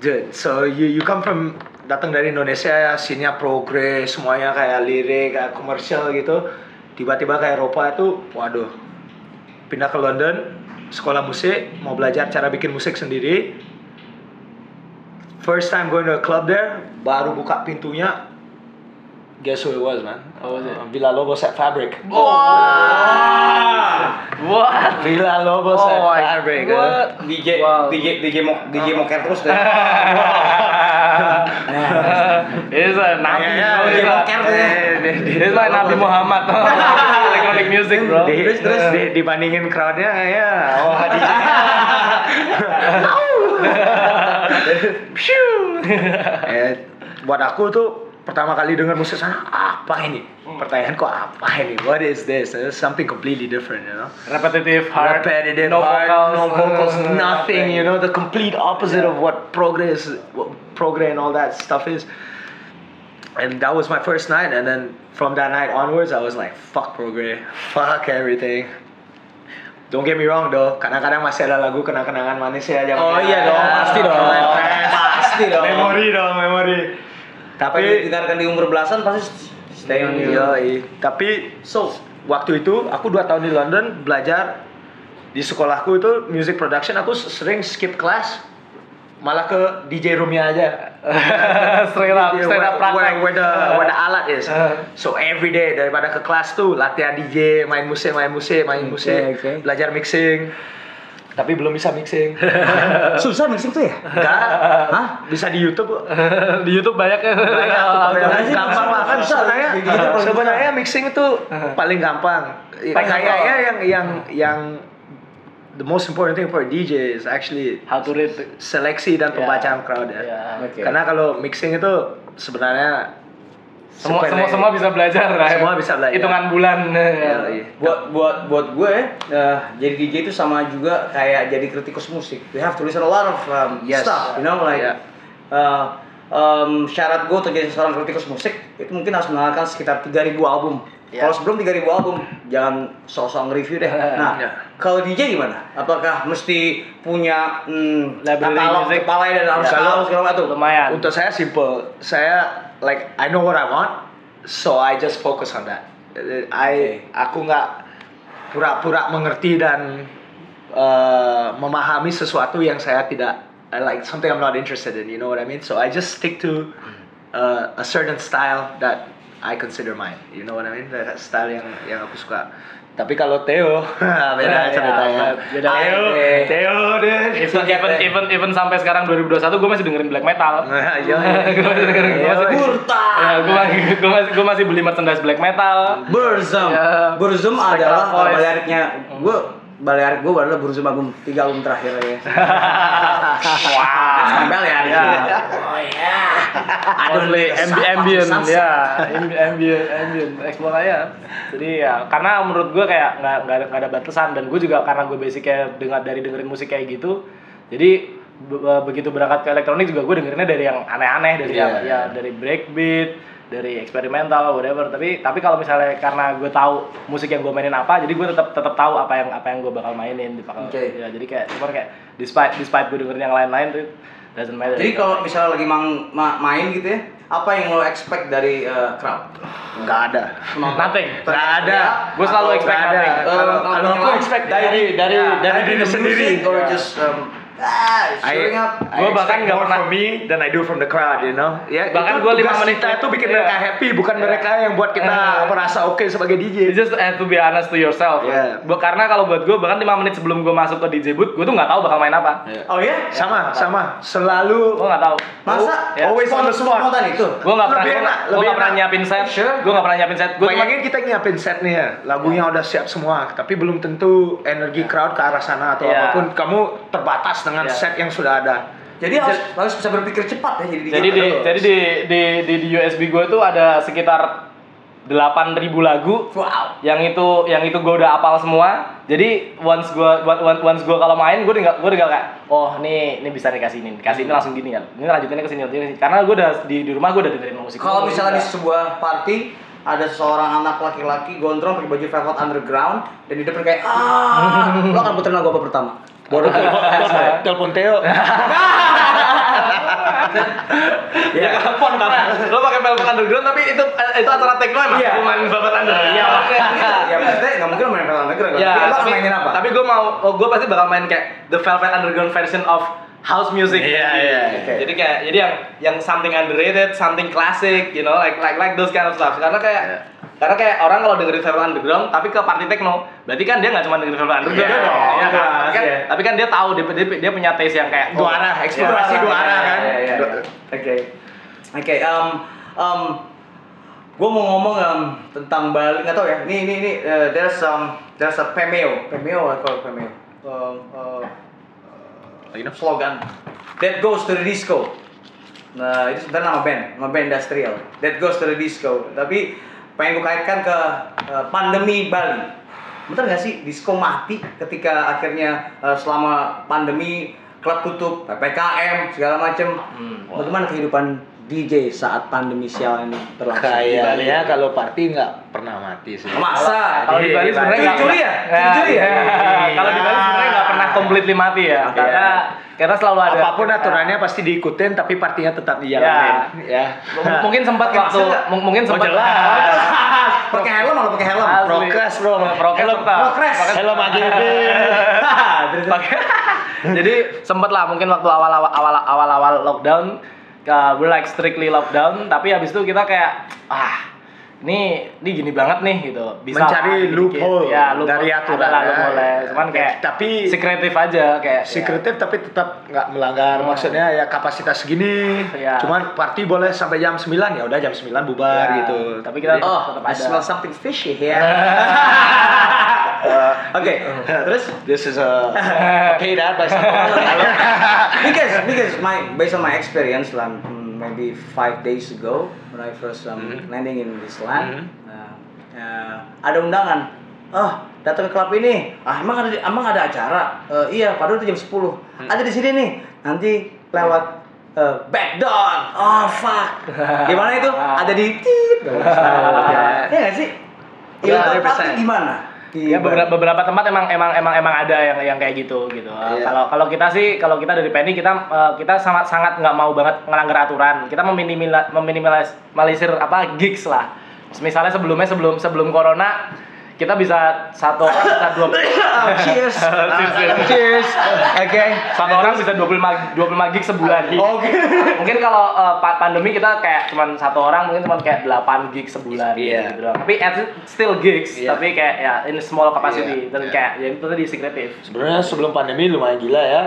C: dude, so you you come from datang dari Indonesia, scene-nya progres, semuanya kayak lirik, kayak komersial gitu. Tiba-tiba ke Eropa itu, waduh. Pindah ke London, sekolah musik, mau belajar cara bikin musik sendiri. First time going to a club there, baru buka pintunya. Guess who it was, man?
D: What was it?
C: Villa Lobos at Fabric.
D: What?
C: Villa Lobos at
D: Oh my
C: Fabric. eh.
D: God.
B: DJ,
D: Wow.
B: DJ, DJ mau, DJ moker terus
D: (laughs)
B: deh.
D: It's a
B: Iya,
C: Yeah,
D: Nabi.
C: yeah,
D: bro. It's
B: yeah.
D: a-
B: Mocker tuh ya.
C: Eh, di-
D: It's like Nabi Muhammad. (laughs) Electronic music, bro.
C: di, di- dibandingin crowdnya ya oh di eh, buat aku tuh pertama kali denger musik sana apa ini
D: Hmm.
C: pertanyaanku apa ini what is this It's something completely different you know
D: Repetitive, hard,
C: repetitive
D: no
C: hard,
D: vocals, uh,
C: no vocals nothing you know the complete opposite of what progress what progress and all that stuff is and that was my first night and then from that night onwards i was like fuck progress fuck everything Don't get me wrong though, kadang-kadang masih ada lagu kenang-kenangan manis ya zaman
B: Oh iya dong, pasti dong. Pasti dong.
C: Memori dong, memori.
B: Apa
C: Tapi
B: yang didengarkan di umur belasan pasti stay on you.
C: Yoi. tapi
B: So,
C: waktu itu aku dua tahun di London belajar di sekolahku itu music production aku sering skip kelas malah ke DJ roomnya aja
D: straight up,
C: Yeah,
D: straight up
C: where, where,
D: praktek.
C: where the
B: Uh.
C: where the alat is so every day daripada ke kelas tuh latihan DJ main musik main musik main musik
B: okay.
C: belajar mixing tapi belum bisa mixing (laughs)
B: susah mixing tuh ya?
C: enggak
B: Hah?
C: bisa di YouTube
D: (laughs) Di YouTube banyak ya.
C: banyak tutorialnya.
B: sih, susah,
C: gampang banget
B: susah.
C: sebenarnya
B: Jadi
D: gitu
B: kita paling
C: sebenarnya mixing itu paling gampang
D: Uh-huh. Paling
C: kayaknya
D: gampang.
C: yang yang yang the most important thing for a DJ is actually
D: How to read.
C: seleksi dan pembacaan crowd ya
D: Yeah.
B: Oke.
C: karena kalau mixing itu sebenarnya
D: Semua,
C: sepele.
D: semua, semua bisa belajar. lah.
C: ya. Semua bisa belajar. Iya,
D: Hitungan bulan.
C: Yoi.
B: Iya. buat buat buat gue eh, jadi DJ itu sama juga kayak jadi kritikus musik. You have to listen a lot of um,
C: Yes.
B: stuff, you know like
C: Yeah.
B: eh, em, syarat gue untuk jadi seorang kritikus musik itu mungkin harus mendengarkan sekitar 3000 album.
D: Ya.
B: Kalau sebelum 3000 album jangan sok-sok review deh. Nah,
C: Ya.
B: kalau DJ gimana? Apakah mesti punya hmm,
D: Library
B: katalog
D: music.
B: kepala dan harus
D: Ya.
B: tahu segala macam?
D: lumayan.
C: Untuk saya simple. Saya like I know what I want, so I just focus on that. Eh, I aku nggak pura-pura mengerti dan eh, memahami sesuatu yang saya tidak I like something I'm not interested in. You know what I mean? So I just stick to eh, a certain style that I consider mine. You know what I mean? The style yang yang aku suka. Tapi kalau Theo (laughs) beda
D: Ya,
C: ceritanya.
D: beda.
C: Theo,
D: Eh.
C: Theo deh.
D: Even, even, even, even sampai sekarang 2021 gue masih dengerin black metal.
C: Ayo,
E: (laughs)
D: gue masih
C: Iya,
D: dengerin, gue masih
B: Gurta.
D: Ya, gue masih, gue masih, gue masih beli merchandise black metal.
B: Burzum.
D: Ya.
B: Burzum
D: Spectral
B: adalah
D: Voice. Hmm.
B: baleriknya gue baler gue adalah Burzum album tiga album terakhir
D: (laughs)
B: ya.
D: Wow.
B: Sambel ya di
D: Ya.
B: sini. Oh ya. Aduh,
D: Mostly
B: susah,
D: ambi-
B: Pak,
D: ambient,
B: susah,
D: ya, ambi- ambient, ambient, explore aja. Jadi ya, karena menurut gue kayak nggak nggak ada, nggak ada batasan dan gue juga karena gue basicnya dengar dari dengerin musik kayak gitu, jadi be- be- begitu berangkat ke elektronik juga gue dengerinnya dari yang aneh-aneh dari yang
C: Iya.
D: ya dari breakbeat, dari eksperimental whatever. Tapi tapi kalau misalnya karena gue tahu musik yang gue mainin apa, jadi gue tetap tetap tahu apa yang apa yang gue bakal mainin. Bakal,
B: Oke.
D: ya, jadi kayak cuman kayak despite despite gue dengerin yang lain-lain tuh doesn't matter.
B: Jadi kalau misalnya lagi mang- ma- main gitu ya, apa yang lo expect dari eh, crowd?
C: Nggak ada.
D: nothing.
C: Nggak ada.
D: Gue selalu expect
C: Nggak ada.
D: nothing.
B: Eh,
C: Kalau- kalau
B: pengen
C: aku
B: main,
C: expect
D: dari dari Iya. dari Iya.
B: dari
C: diri
B: the
C: sendiri.
B: music Or just um, ah, showing up.
D: Gua bahkan nggak
C: more
D: pernah- Iya,
C: from me than I do from the crowd, you know. Ya,
D: Bahkan
C: itu
D: gua
C: tugas
D: lima menit-
C: kita itu bikin
D: Iya.
C: mereka happy, bukan mereka yang buat kita
D: Iya.
C: merasa oke sebagai
D: You
C: DJ.
D: just have to be honest to yourself.
C: Yeah.
D: Bu- Karena kalau buat gue bahkan 5 menit sebelum gue masuk ke DJ booth, gue tuh nggak tahu bakal main apa.
B: Oh ya?
C: Iya. Sama, sama.
D: Gue
C: Selalu
D: iya? nggak tahu.
B: Masa?
D: Ya.
C: always on the spot.
B: Spontan itu.
D: Gue nggak pernah,
C: Lebih enak,
D: gue
C: lebih
D: nggak pernah
C: enak.
D: nyiapin set.
C: Sure.
D: Gue nggak pernah nyiapin set. Gue cuma
C: Bayangin kita nyiapin set nih ya, lagunya udah siap semua, tapi belum tentu energi
D: Ya.
C: crowd ke arah sana atau
D: Iya.
C: apapun. Kamu terbatas dengan
D: Iya.
C: set yang sudah ada.
B: Jadi harus harus bisa berpikir cepat ya jadi DJ.
C: gitu
D: jadi di jadi di di di, di USB gue tuh ada sekitar 8.000 lagu
B: wow.
D: yang itu yang itu gue udah apal semua jadi once gue once, once gue kalau main gue tinggal gue tinggal kayak oh nih ini bisa dikasih ini kasih ini langsung gini kan ini lanjutinnya ke sini lanjutinnya ke sini. karena gue udah di, di Iya. rumah gue udah dengerin musik
B: Kalau
D: Gua
B: misalnya di
D: udah-
B: sebuah party ada seorang anak laki-laki gondrong pakai baju velvet underground dan di depan kayak ah lo akan puterin lagu apa
D: (laughs)
B: pertama?
C: Baru telepon, telepon Theo.
D: ya telepon karena lo pakai pelpon underground tapi itu itu acara techno emang
B: Iya.
D: cuman babat underground
B: Iya,
D: (laughs)
B: ya maksudnya nggak mungkin lo main velvet underground.
D: Ya,
B: Tapi lo akan
D: tapi,
B: mainin apa?
D: Tapi gue mau, oh, gue pasti bakal main kayak the Velvet Underground version of house music.
C: Iya, iya,
B: oke.
D: Jadi kayak, jadi yang yang something underrated, something classic, you know, like like like those kind of stuff. Karena kayak
C: Iya.
D: Karena kayak orang kalau dengerin Velvet Underground, tapi ke party techno, berarti kan dia nggak cuma dengerin Velvet Underground,
C: Iya,
D: dong,
C: iya,
D: ya kan?
C: jelas,
D: Kan-
C: iya.
D: Tapi kan dia tahu dia, dia, dia punya taste yang kayak oh,
C: Dua arah, eksplorasi dua arah kan.
B: Iya, iya, iya.
C: Dua-
B: Oke. Oke, em em gue mau ngomong em, tentang Bali nggak tau ya. Ini ini ini eh, there's um there's a pemeo pemeo apa pemeo Em, eh, slogan that goes to the disco. Nah itu sebenarnya nama band, nama band industrial that goes to the disco. Tapi pengen gue kaitkan ke eh, pandemi Bali. Bener nggak sih disco mati ketika akhirnya eh, selama pandemi klub tutup, ppkm segala macem. Bagaimana kehidupan DJ saat pandemi sial ini berlangsung? di Bali?
C: Kayaknya kalau party nggak pernah mati
E: Iya,
C: sih.
B: Masa?
D: Kalau di Bali sebenarnya nggak
B: Curi-curi ya?
D: Nah,
B: Curi-curi ya?
D: Kalau di Bali sebenarnya nggak pernah completely mati ya. Karena karena selalu ada ya.
C: Apapun aturannya pasti diikutin tapi partinya tetap dijalanin. Ya.
D: M- mungkin sempat
B: Pakai
D: waktu
B: masker nggak?
D: mung- mungkin sempat
B: Pakai helm malah pakai helm.
D: Asli.
C: Prokes, bro.
D: Prokes
C: Helm-
D: tetap.
B: prokes.
C: Helm AGB. (laughs)
D: Pakai- (laughs) Jadi sempat lah mungkin waktu awal awal awal awal, awal lockdown uh, we're like strictly lockdown tapi habis itu kita kayak ah ini ini gini banget nih gitu bisa lah,
C: Mencari
D: dikit-dikit.
C: loophole
D: ya,
C: dari aturan.
D: ada lah
C: ya.
D: loophole-nya. cuman kayak
C: tapi
D: sekretif aja kayak ya.
C: sekretif tapi tetap nggak melanggar maksudnya ya kapasitas segini
D: Iya.
C: cuman party boleh sampai jam 9 ya udah jam 9 bubar
D: Ya,
C: gitu
D: tapi kita
B: Oh,
C: (laughs)
D: tetap
B: I
D: ada.
B: smell something fishy
D: (laughs)
B: here. (laughs) Uh, Oke,
D: Gitu.
B: terus
C: this is (laughs) a paid ad by someone
B: because because my based on my experience like mm, maybe five days ago when I first um, landing in this land uh, uh, ada undangan oh datang ke klub ini ah emang ada emang ada acara Eh, iya padahal itu jam 10 ada di sini nih nanti lewat
D: Uh,
B: Back down. Oh fuck. Gimana itu? Ada di tit. Iya nggak sih?
C: Ya,
B: Ilmu tempat tuh
C: 100%.
B: gimana? Di-
D: Ya beberapa, beberapa tempat emang emang emang emang ada yang yang kayak gitu gitu. Eh,
C: Iya.
D: Kalau kalau kita sih kalau kita dari Penny kita eh, kita sangat sangat nggak mau banget ngelanggar aturan. Kita meminimila- meminimalisir apa gigs lah. Misalnya sebelumnya sebelum sebelum corona kita bisa satu orang bisa dua
B: Oh, cheers.
D: Cheers, cheers.
B: cheers. Oke.
D: satu orang bisa 25 25 gig sebulan.
B: Oke.
D: Mungkin kalau eh, pa- pandemi kita kayak cuman satu orang mungkin cuman kayak 8 gig sebulan
C: Iya.
D: gitu doang. Tapi at least still gigs,
C: Iya.
D: tapi kayak ya in small capacity
C: Iya,
D: dan
C: iya.
D: kayak ya itu tadi
C: (laughs)
D: secretive.
C: Sebenarnya sebelum pandemi lumayan gila ya.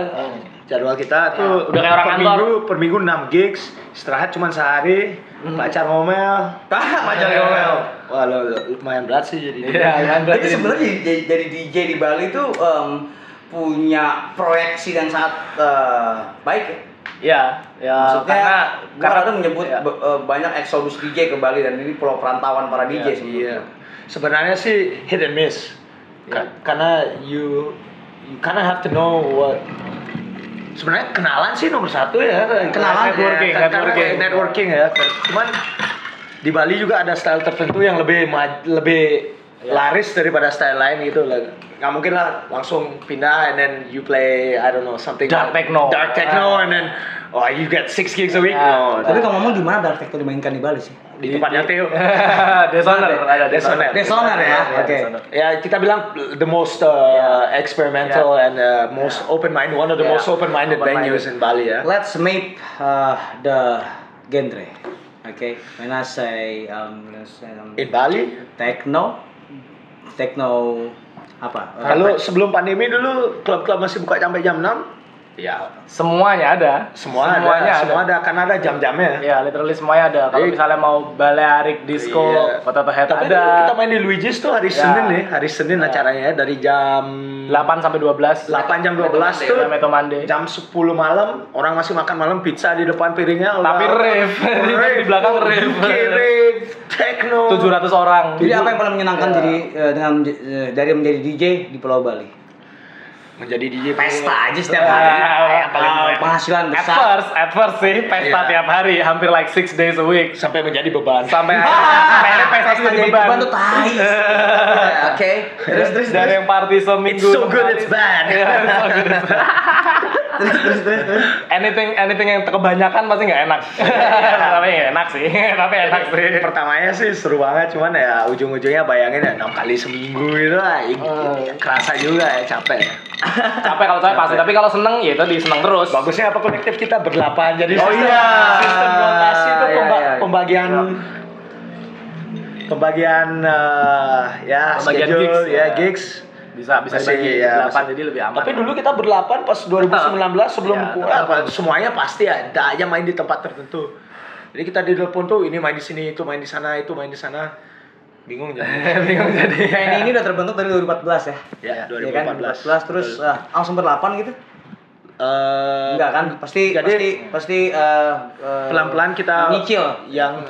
C: Jadwal kita tuh
D: Udah kayak orang
C: Ya, per
D: kantor.
C: minggu, per minggu 6 gigs, istirahat cuma sehari, pacar ngomel.
B: Macam ngomel.
C: Wah, lo, lo- lumayan berat sih jadi.
B: Iya, Jadi sebenarnya jadi- jadi, jadi DJ di Bali itu em, punya proyeksi yang sangat eh, baik ya.
D: Iya, ya
B: Maksudnya
D: karena
B: karena tuh menyebut
D: ya.
B: be- eh, banyak exodus DJ ke Bali dan ini pulau perantauan para DJ sebenarnya.
C: Iya. Sebenarnya sih hit and miss. Ka- Karena you you kinda have to know what Sebenarnya kenalan sih nomor satu ya.
D: Kenalan, networking,
C: ya, karena
D: networking.
C: kayak networking ya. Cuman di Bali juga ada style tertentu yang lebih ma- lebih laris daripada style lain gitu lah. Nggak mungkin lah langsung pindah and then you play I don't know something
D: Dark techno.
C: dark techno and then oh you get six gigs a week.
D: Ah,
C: No,
B: Tapi kalau ngomong di mana dark techno dimainkan di Bali sih?
C: di tempatnya Theo.
D: (laughs) Dishonor, ada
C: Dishonor.
B: Dishonor ya. Oke.
C: Ya kita bilang the most uh, experimental and uh, most open minded one of the
D: Yeah.
C: most open minded
D: Open-minded.
C: venues in Bali ya.
B: Let's map uh, the genre. Okay. When I say um, when I say, um,
C: In Bali.
B: techno, techno apa? Eh,
C: Kalau sebelum pandemi dulu klub-klub masih buka sampai jam 6 Ya,
D: Semuanya ada.
C: semua ada,
D: Semuanya ada.
C: semua ada kan ada jam-jamnya.
D: Ya, literally semuanya ada. Kalau
C: Jadi-
D: misalnya mau balearic disco,
C: Iya.
D: potato head
C: Tapi
D: ada.
C: dulu kita main di Luigi's tuh hari
D: Ya.
C: Senin nih, hari Senin acaranya ya, dari jam
D: 8 sampai 12.
C: 8 jam 12 tuh
D: Iya, Meto Mande.
C: jam 10 malam orang masih makan malam pizza di depan piringnya
D: Tapi
C: orang- (laughs)
D: rave. Di- (laughs) di belakang rave.
C: UK rave techno
D: 700 orang.
B: Jadi apa yang paling menyenangkan jadi eh, dengan eh, dari menjadi DJ di Pulau Bali?
C: menjadi DJ
B: Pesta aja setiap
D: Ah,
B: hari.
D: yang paling-
B: Ah, penghasilan
D: At
B: besar.
D: first, at first sih pesta
C: Iya.
D: tiap hari, hampir like 6 days a week.
C: sampai menjadi beban
D: Sampai sampai akhirnya pesta tuh
B: Pesta
D: jadi
B: jadi
D: beban.
B: beban tuh (laughs) tai. Ya, Oke. Terus terus
D: dari
B: terus.
D: yang party
C: it's
D: seminggu.
C: so good
D: party-
C: it's
D: (laughs)
C: bad (laughs)
D: Iya, it's so good, it's bad.
B: Terus terus terus. terus.
D: anything anything yang kebanyakan pasti nggak enak. (laughs) Tapi nggak enak sih, tapi enak sih.
C: iya, pertamanya sih seru banget cuman ya ujung-ujungnya bayangin ya 6 kali seminggu gitu lah i- i- kerasa juga ya capek ya
D: Capek kalau capek pasti, tapi kalau seneng ya itu di seneng terus.
C: bagusnya apa kolektif kita berdelapan jadi
D: Oh
C: sistem,
D: iya.
C: sistem rotasi itu
B: Iya, iya,
C: pemba-
B: iya.
C: pembagian pembagian eh, ya
D: Pembagian
C: schedule
D: gigs,
C: ya
D: ya.
C: gigs
D: Bisa bisa
C: Masih,
D: dibagi
C: iya,
D: delapan
C: masih-
D: jadi lebih aman.
C: tapi dulu kita berdelapan pas 2019 sebelum
D: Iya,
C: keluar, apa, semuanya pasti ada aja main di tempat tertentu. Jadi kita di telepon tuh ini main di sini, itu main di sana, itu main di sana. Bingung jadi.
D: bingung jadi.
B: Penny ini udah terbentuk dari 2014 ya.
C: Ya,
B: Iya kan?
C: 2014.
B: 2014 terus eh, langsung berdelapan gitu.
C: Eh,
B: Enggak kan? Pasti
C: jadi-
B: pasti pasti eh, eh,
C: pelan-pelan kita
B: nyicil.
C: yang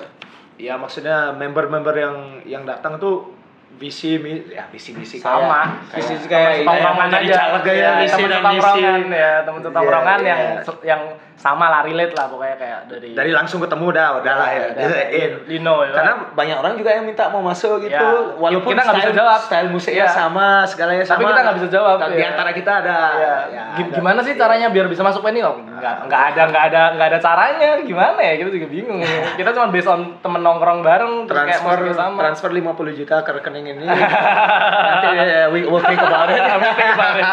C: ya maksudnya member-member yang yang datang tuh visi mi- ya Iya. visi misi
D: Sama.
B: Visi kayak
C: Kayak
D: tongkrongan
C: menjadi
D: aja.
C: caleg ya,
D: Iya,
C: misi
D: temen
C: dan
D: setongkrongan
C: misi.
D: ya, temen setongkrongan
C: Iya,
D: yang
C: iya.
D: se- yang sama lah relate lah pokoknya kayak dari
C: dari langsung ketemu dah udahlah ya
D: dari-
C: in.
D: you know ya.
C: karena banyak orang juga yang minta mau masuk gitu
D: Ya.
C: walaupun
D: Kita nggak bisa
C: style,
D: jawab.
C: style musiknya
D: Ya.
C: sama segalanya sama
D: Tapi kita nggak bisa jawab,
C: di
D: ya.
C: antara kita ada
D: Iya.
C: ya,
D: Gi-
C: ada.
D: gimana sih caranya biar bisa masuk ini loh? Nggak, nggak ada, nggak ada, nggak ada caranya. Gimana ya? Kita juga bingung. kita cuma based on temen nongkrong bareng, terus Gitu, kayak
C: transfer
D: musiknya sama.
C: transfer 50 juta ke rekening
D: (laughs)
C: ini nanti eh, we will think about it
D: I mean, think
C: (laughs)
D: about it.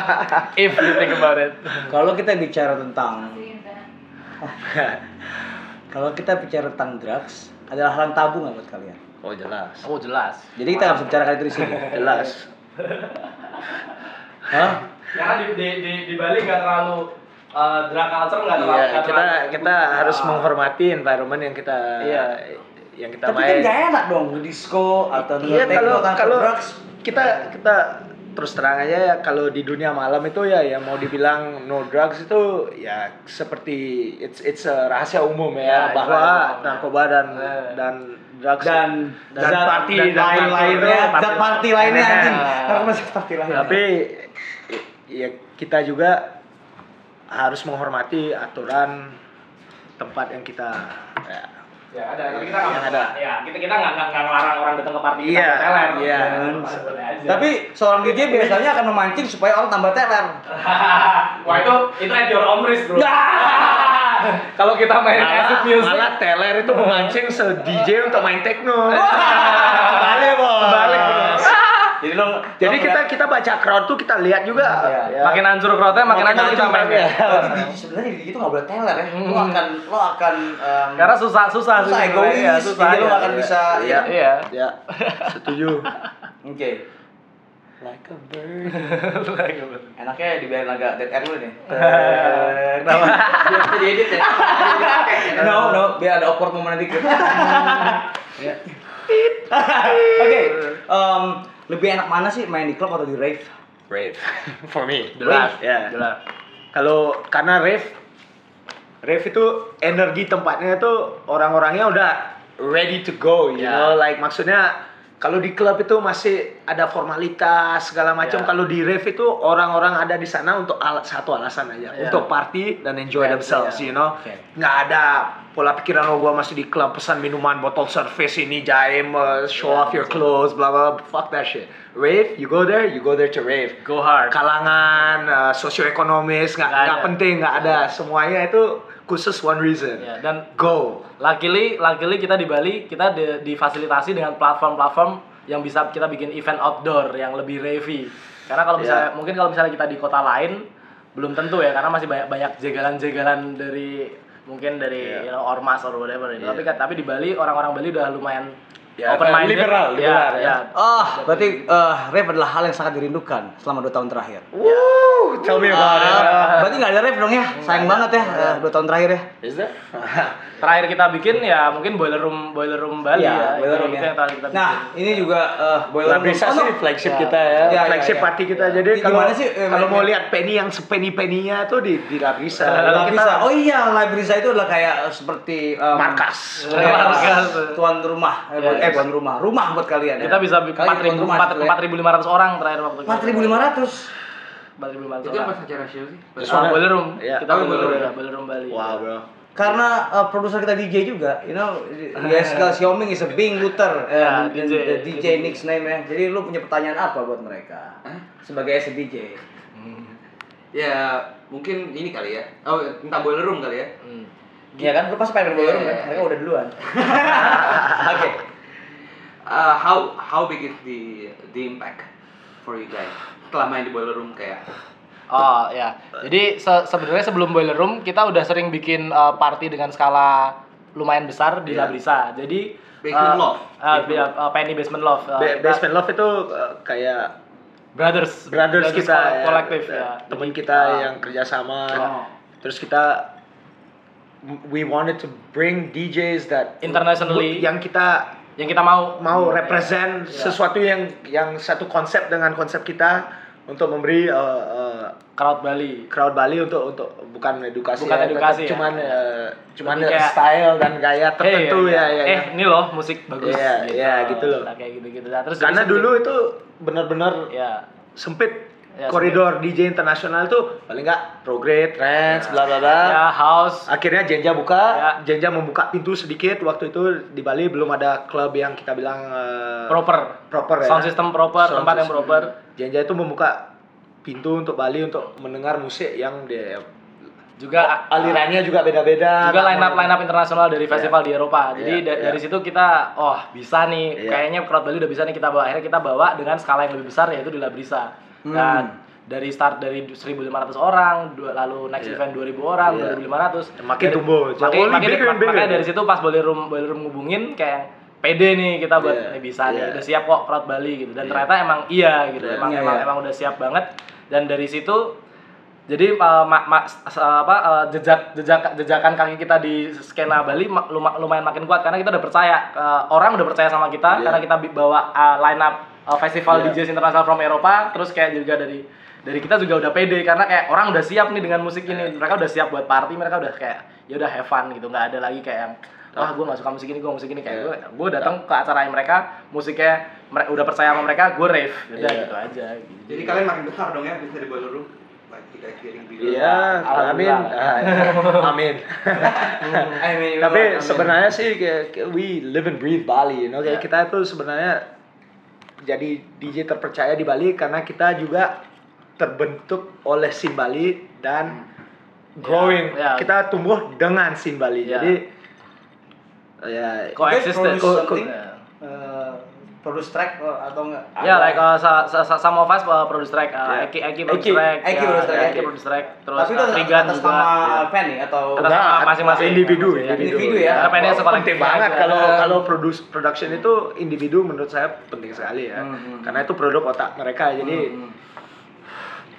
D: If you think about it.
B: Kalau kita bicara tentang
F: Masukin sana.
B: (laughs) kalau kita bicara tentang drugs adalah hal yang tabu nggak buat kalian?
C: oh jelas
D: Oh jelas.
B: Jadi kita nggak bisa bicarakan itu di
C: (laughs)
B: sini.
C: jelas
B: Hah?
D: Karena di di di, di Bali nggak terlalu uh, drug culture nggak terlalu.
C: Iya,
D: nggak
C: kita
D: terlalu-
C: kita harus menghormati environment yang kita
D: Ah. Iya.
C: yang kita
B: Tapi kan
C: main.
B: nggak enak dong di disco atau di
C: Iya kalau
B: techno tanpa
C: kalau
B: drugs.
C: kita kita terus terang aja ya kalau di dunia malam itu ya ya mau dibilang no drugs itu ya seperti it's it's a rahasia umum ya,
D: Ya,
C: bahwa
D: rahasia umum.
C: narkoba dan
D: Ya.
C: dan drugs
B: Dan
C: dan
B: dan
C: party dan
B: lain
C: party itu-
B: lainnya, dan party
C: (laughs)
B: lainnya anjing. Kenapa sih party lainnya?
C: tapi i- ya kita juga harus menghormati aturan tempat yang kita ya.
B: Ya ada, tapi kita nggak
C: Yang
B: ada.
C: Iya, ada.
B: Ya kita kita nggak nggak nggak ngelarang orang datang ke party kita
C: Iya,
B: ke teler.
C: iya.
D: Ya,
B: Tapi
D: Tapi seorang DJ biasanya akan memancing supaya orang tambah teler.
B: wah itu itu at your own risk bro.
D: (laughs) Kalau kita main acid
C: Nah. Malah,
D: music,
C: malah teler itu memancing se DJ untuk main
D: (laughs)
C: techno.
D: Kebalik, Bos.
C: Kebalik, Bos.
D: jadi lo
C: (laughs) Jadi kita kita baca crowd tuh kita lihat juga.
B: Iya.
C: Ya.
D: makin hancur crowdnya makin,
C: Makin
D: hancur kita ya.
C: hancur
D: mainnya.
C: mainnya.
B: Sebenarnya di itu nggak boleh teler ya. Lo akan lo akan em,
D: Karena susah susah
B: susah
D: sih sebenarnya.
B: egois,
D: Iya,
B: jadi
C: gitu
B: lo nggak akan bisa.
C: Iya.
D: Iya.
C: Ya, setuju.
B: Oke.
C: Like a bird.
B: Enaknya dibiarin agak dead air dulu nih.
E: Biar bisa diedit ya.
B: No, no, biar ada awkward momen dikit. Ya. Oke, em, lebih enak mana sih main di klub atau di rave?
C: Rave. For me.
D: Jelas,
C: Ya.
D: jelas.
C: Kalau karena rave rave itu energi tempatnya tuh orang-orangnya udah ready to go, you
D: Ya.
C: know, like maksudnya kalau di klub itu masih ada formalitas segala macam.
D: Ya.
C: Kalau di rave itu orang-orang ada di sana untuk ala- satu alasan aja,
D: Ya.
C: untuk party dan enjoy
D: Ya,
C: themselves,
D: ya.
C: you know.
B: Oke.
C: Nggak ada pola pikiran oh gua masih di klub pesan minuman botol service ini jaim uh, show
D: Ya,
C: off your clothes bla bla bla. fuck that shit. Rave, you go there, you go there to rave
D: Go hard.
C: kalangan uh, sosioekonomis nggak
D: Nggak
C: nggak
D: ada.
C: penting nggak ada semuanya itu khusus one reason
D: Ya, dan
C: go
D: luckily luckily kita di Bali kita di- difasilitasi dengan platform-platform yang bisa kita bikin event outdoor yang lebih revy. Karena
C: Iya.
D: kalau misalnya mungkin kalau misalnya kita di kota lain belum tentu ya karena masih banyak banyak jegalan-jegalan dari mungkin dari
C: Iya.
D: you know, ormas or whatever. you know. Tapi tapi di Bali orang-orang Bali udah lumayan
C: Ya,
D: Iya, open minded.
C: liberal, liberal, ya.
B: Oh, berarti eh, rave adalah hal yang sangat dirindukan selama 2 tahun terakhir.
C: Woo, tell me about it
B: Ah, berarti nggak ada rave dong ya? Sayang banget ya, eh, dua tahun terakhir ya.
C: is that
D: Terakhir kita bikin ya mungkin boiler room boiler
C: Iya,
D: room Bali ya.
B: boiler
D: Itu-
B: room
D: itu
B: ya.
D: yang terakhir kita bikin.
B: Nah, ini juga eh, boiler room.
C: bisa
B: Oh, no.
C: sih flagship kita ya,
B: Ya, ya,
C: flagship
B: ya.
C: party kita jadi
B: Di-
C: kalau
B: gimana sih, eh, main-
C: kalau mau
B: main-
C: lihat penny yang sepeni peninya tuh di di Labrisa
B: La
C: Kita
B: Brisa. Oh iya, La Brisa itu adalah kayak eh, seperti em,
C: markas Iya,
B: kayak
D: Markas.
B: tuan rumah, eh, buat, eh, tuan rumah, rumah buat kalian.
D: kita bisa bikin 4.000 4.500 orang terakhir waktu
B: ya? empat ribu lima ratus.
D: 4.500
E: Itu
D: orang.
E: pas acara show sih. Pas-
D: Ah, boiler room.
C: Iya.
D: Kita
E: Oh,
D: boiler
E: boiler
D: room,
E: room.
D: boiler room Bali.
C: wow bro
B: Karena eh, produser kita DJ juga, you (laughs) know, yes, Xiaoming is a Bing Luther,
D: Ya,
B: eh,
D: DJ.
B: the DJ nickname ya. Jadi lu punya pertanyaan apa buat mereka sebagai as a DJ?
E: Ya mungkin ini kali ya. Oh tentang boiler room kali ya.
D: Hmm.
B: Iya kan, lu pasti pengen main bola room kan?
E: Iya.
B: Mereka udah duluan. (laughs) Oke.
E: Uh, how how big is the the impact for you guys setelah main di boiler room kayak
D: Oh ya. Jadi se- sebenarnya sebelum boiler room kita udah sering bikin eh, party dengan skala lumayan besar di
E: Iya.
D: Labrisa. Jadi
E: Basement
C: Ah.
D: eh,
E: Love.
D: eh, iya, eh, Penny Basement Love. Eh,
C: Ba-
D: kita
C: basement love itu uh, kayak
D: brothers,
C: brothers kita
D: kol-
C: ya,
D: kolektif
C: eh,
D: ya.
C: teman
D: Jadi,
C: kita
D: eh,
C: yang kerjasama
D: Oh.
C: terus kita we wanted to bring DJs that
D: Internationally.
C: yang kita
D: yang kita mau
C: mau represent sesuatu yang yang satu konsep dengan konsep kita untuk memberi uh, uh,
D: crowd Bali.
C: crowd Bali untuk untuk bukan edukasi
D: Bukan edukasi
C: tetap
D: ya.
C: cuman uh, cuman
D: Lebih kayak-
C: style dan gaya tertentu
D: Hey,
C: ya ya,
D: Eh,
C: ya.
D: ini loh musik bagus.
C: Iya, iya, gitu loh.
D: Nah, kayak gitu-gitu. Nah, terus
C: karena
D: jadi
C: dulu itu benar-benar
D: ya
C: sempit
D: Ya,
C: koridor DJ internasional tuh paling nggak progre, trance, bla bla bla.
D: ya house
C: Akhirnya Jenja buka,
D: Ya.
C: Jenja membuka pintu sedikit. Waktu itu di Bali belum ada klub yang kita bilang eh,
D: proper.
C: proper ya.
D: Sound system proper,
C: Sound
D: tempat yang
C: system.
D: proper.
C: Jenja itu membuka pintu untuk Bali untuk mendengar musik yang di
D: Juga
C: alirannya juga beda-beda.
D: Ah.
C: Nggak
D: juga line up
C: mau-
D: line up internasional dari festival di Eropa. Jadi
C: Iya,
D: da-
C: iya.
D: dari situ kita oh bisa nih
C: Iya.
D: kayaknya crowd Bali udah bisa nih kita bawa. Akhirnya kita bawa dengan skala yang lebih besar yaitu di Labrisa.
C: Hmm.
D: Dan dari start dari 1.500 orang, dua- lalu next event 2.000 orang,
C: Iya.
D: 2.500.
C: Makin
D: Dari-
C: tumbuh,
D: Makin,
C: jauh
D: makin,
C: lebih bigger and bigger.
D: makanya dari situ pas boiler room boiler room ngubungin kayak pede nih kita
C: Iya,
D: buat nih bisa nih
C: iya.
D: udah siap kok crowd Bali gitu. Dan ternyata emang iya gitu. Emang
B: Iya,
D: emang
B: iya.
D: emang udah siap banget. Dan dari situ jadi uh, ma- ma- s- apa uh, jejak jejak jejakan kaki kita di skena Bali ma- luma- lumayan makin kuat karena kita udah percaya uh, orang udah percaya sama kita
C: Iya.
D: karena kita bi- bawa uh, line up uh, festival
C: Iya.
D: DJs internasional from Eropa terus kayak juga dari dari kita juga udah pede karena kayak orang udah siap nih dengan musik
C: Iya.
D: ini mereka udah siap buat party mereka udah kayak ya udah have fun gitu nggak ada lagi kayak yang wah gue nggak suka musik ini gue musik ini kayak
C: Iya.
D: gue gue datang ke acara mereka musiknya mere- udah percaya sama mereka gue rave udah
C: Iya.
D: gitu aja gitu.
E: jadi kalian makin besar dong ya bisa di boiler room like you guys getting bigger.
C: Iya, amin.
D: (laughs)
C: Ah, ya. Amin.
E: I
B: Iya,
C: Tapi
E: mean, like, I mean,
C: sebenarnya sih kayak- kayak we live and breathe Bali, you know. Kayak kita
E: Yeah.
C: tuh sebenarnya jadi DJ terpercaya di Bali karena kita juga terbentuk oleh scene Bali dan growing.
D: Yeah, yeah.
C: Kita tumbuh dengan scene Bali.
D: Yeah.
C: Jadi ya
D: Coexistence. Iya.
C: Co- co-
B: Uh, produce track uh, atau enggak?
D: Yeah,
C: Ya,
D: like uh, sa- sa- sa- some of us uh, produce track, uh,
C: Yeah.
D: Eki Eki
C: Eki.
D: produce track,
B: Eki
D: yeah,
B: produce track,
D: yeah, Eki
B: Eki.
D: produce track, terus
B: Tapi itu
D: uh, Trigan
B: atas
D: juga.
B: nama
D: yeah.
B: fan nih atau
D: Atas nama
C: Enggak,
D: masing-masing
C: Nah, individu,
D: Masing-masing.
B: individu ya.
D: Karena pengennya sekolah
C: penting
D: kita
C: banget
D: aja.
C: kalau kalau produce production itu individu menurut saya penting sekali ya. Karena itu produk otak mereka jadi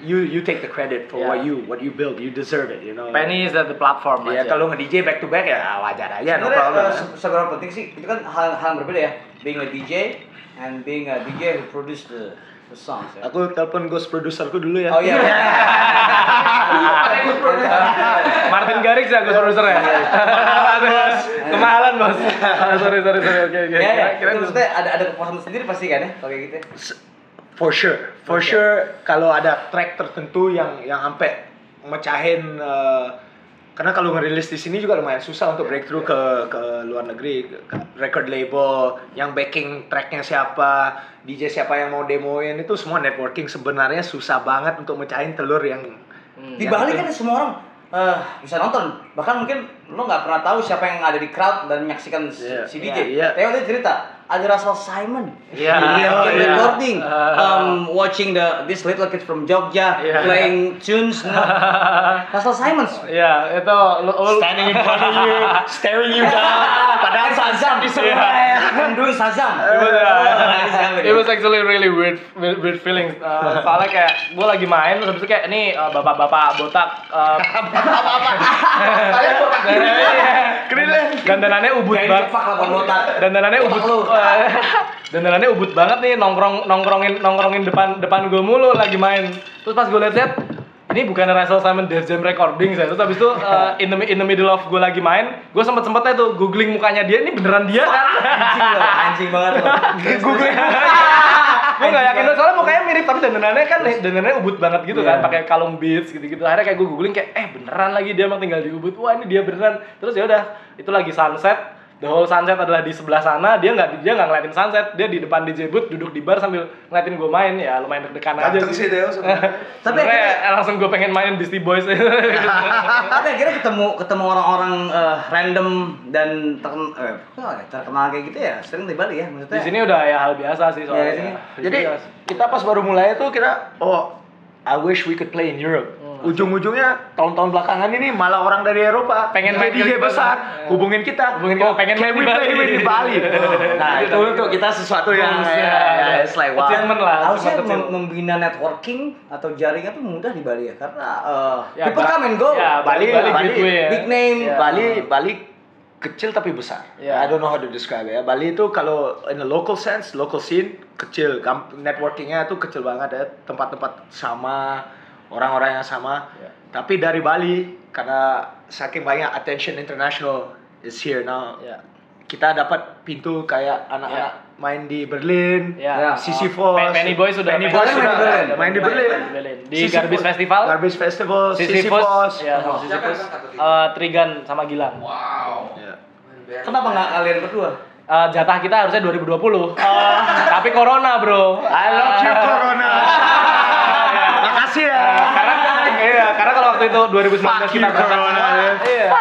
C: you you take the credit for
D: Yeah.
C: what you what you build, you deserve it, you know.
D: Penny is the, the platform
C: ya
D: aja.
C: kalau nge DJ back to back ya wajar aja no
B: Sebenarnya
C: problem. ya.
B: uh, se- seberapa penting sih? Itu kan hal hal yang berbeda ya. Being a DJ and being a DJ who produce the, the songs. Ya.
C: Aku telepon ghost producerku dulu ya.
B: Oh iya.
C: (laughs)
D: Martin Garrix ya gue produser ya.
C: Iya.
D: Kemahalan
C: (laughs)
D: bos. Oh, sorry sorry sorry oke oke.
B: Ya, ya.
D: Kira-kira
B: Itu maksudnya ada ada kepuasan sendiri pasti kan ya kalau kayak gitu.
C: For sure, for sure kalau ada track tertentu yang yang sampai mecahin eh, karena kalau ngerilis di sini juga lumayan susah untuk breakthrough ke ke luar negeri, ke- ke record label, yang backing tracknya siapa, DJ siapa yang mau demoin itu semua networking sebenarnya susah banget untuk mecahin telur yang Hmm.
B: Di
D: Ya,
B: Bali kan semua orang eh, bisa nonton. Bahkan mungkin lo nggak pernah tahu siapa yang ada di crowd dan menyaksikan si,
C: Iya.
B: si DJ.
C: Iya.
B: Theo tadi cerita ada Russell Simon.
D: Iya,
B: Dia bikin
D: iya.
B: recording,
D: Ah.
B: um, watching the this little kid from Jogja
D: Iya.
B: playing tunes.
D: (laughs)
B: no. Russell Simons.
D: Ya itu lu, lu-
C: standing in front of you, staring you down,
D: (laughs)
C: padahal
B: Sazam di
D: Iya.
B: And doing Sazam.
D: It was,
B: Sazam,
D: uh,
B: ya.
D: it was actually really weird, weird, weird feelings. Uh, soalnya kayak gue lagi main, terus habis itu kayak ini uh, bapak-bapak botak. Uh, (laughs) bapak-bapak. iya, Dandanannya ubud
B: Kayak
D: banget.
B: dicepak lah bang botak.
D: Dandanannya
B: Botak
D: ubud.
B: lu.
D: (laughs) Dandanannya ubud banget nih nongkrong nongkrongin nongkrongin depan depan gue mulu lagi main. Terus pas gue liat-liat ini bukan Russell Simon Death Jam recording saya. Terus habis itu uh, in, the, in the middle of gue lagi main, gue sempet sempetnya tuh googling mukanya dia. Ini beneran
B: (laughs)
D: dia kan?
B: Anjing lo, anjing banget lo.
D: Googling gue gak yakin
C: Iya.
D: banget, soalnya mukanya mirip tapi dandanannya kan dandanannya ubud banget gitu kan pakai kalung beads gitu-gitu akhirnya kayak gue googling kayak eh beneran lagi dia emang tinggal di ubud wah ini dia beneran terus ya udah itu lagi sunset the whole sunset adalah di sebelah sana dia nggak dia nggak ngeliatin sunset dia di depan DJ booth duduk di bar sambil ngeliatin gue main ya lumayan deg-degan aja
C: Ganteng sih Theo sebenarnya.
B: Tapi
D: tapi
B: akhirnya-
D: langsung gue pengen main Beastie Boys (laughs)
B: Tapi akhirnya ketemu ketemu orang-orang eh, random dan terken- eh, apa ya, terkenal kayak gitu ya sering di Bali ya maksudnya.
D: di sini udah ya hal biasa
B: Iya,
D: sih
B: di sini.
D: soalnya
C: Jadi kita pas baru mulai tuh kita oh I wish we could play in Europe. Ujung-ujungnya tahun-tahun belakangan ini malah orang dari Eropa
D: Pengen
C: jadi
D: main
C: DJ
D: ke-
C: besar
D: Iya.
C: hubungin kita.
D: Hubungin kita, pengen
C: can
D: main di
C: we
D: Bali.
C: play with di Bali. nah, itu untuk kita sesuatu yang
D: Goals,
C: ya,
D: ya.
C: ya, it's like wow.
D: Achievement lah,
B: harusnya
D: cuma kecil.
B: mem- membina networking atau jaringan tuh mudah di Bali ya karena eh,
D: Ya,
B: people
D: Ba-
B: come and go.
D: ya,
C: Kan Bali,
D: Bali,
C: Bali,
D: gateway ya.
B: Big name
D: Ya.
C: Bali, Bali kecil tapi besar.
D: Iya.
C: I don't know how to describe it ya. Bali itu kalau in a local sense, local scene kecil, Gam- networkingnya itu kecil banget ya. Tempat-tempat sama, orang-orang yang sama.
D: Iya.
C: Tapi dari Bali karena saking banyak attention international is here now.
D: Iya.
C: Kita dapat pintu kayak anak-anak main di Berlin,
D: Ya.
C: Sisyphos,
D: Pe- Penny Boy sudah-
C: Penny
D: Penny
C: Boy
B: Boy
C: sudah
B: main di Berlin.
C: main di Berlin.
D: Main di Berlin. Di
C: Sisyphus-
D: Garbage Festival.
C: Garbage Festival, Sisyphos.
D: Sisyphus, ya
B: Oh.
D: sama
E: Siapa yang
D: Sisyphus.
E: kakak tadi?
D: Eh, Trigan sama Gilang.
E: Wow.
C: Iya.
B: Kenapa nggak kalian berdua?
D: Eh, jatah kita harusnya 2020. tapi corona, Bro.
C: Oh. I love you
D: (laughs)
C: Corona. Makasih ya.
D: Karena iya, karena kalau waktu itu 2019
C: Fuck you
D: kita berangkat
C: Corona.
D: semua. Iya.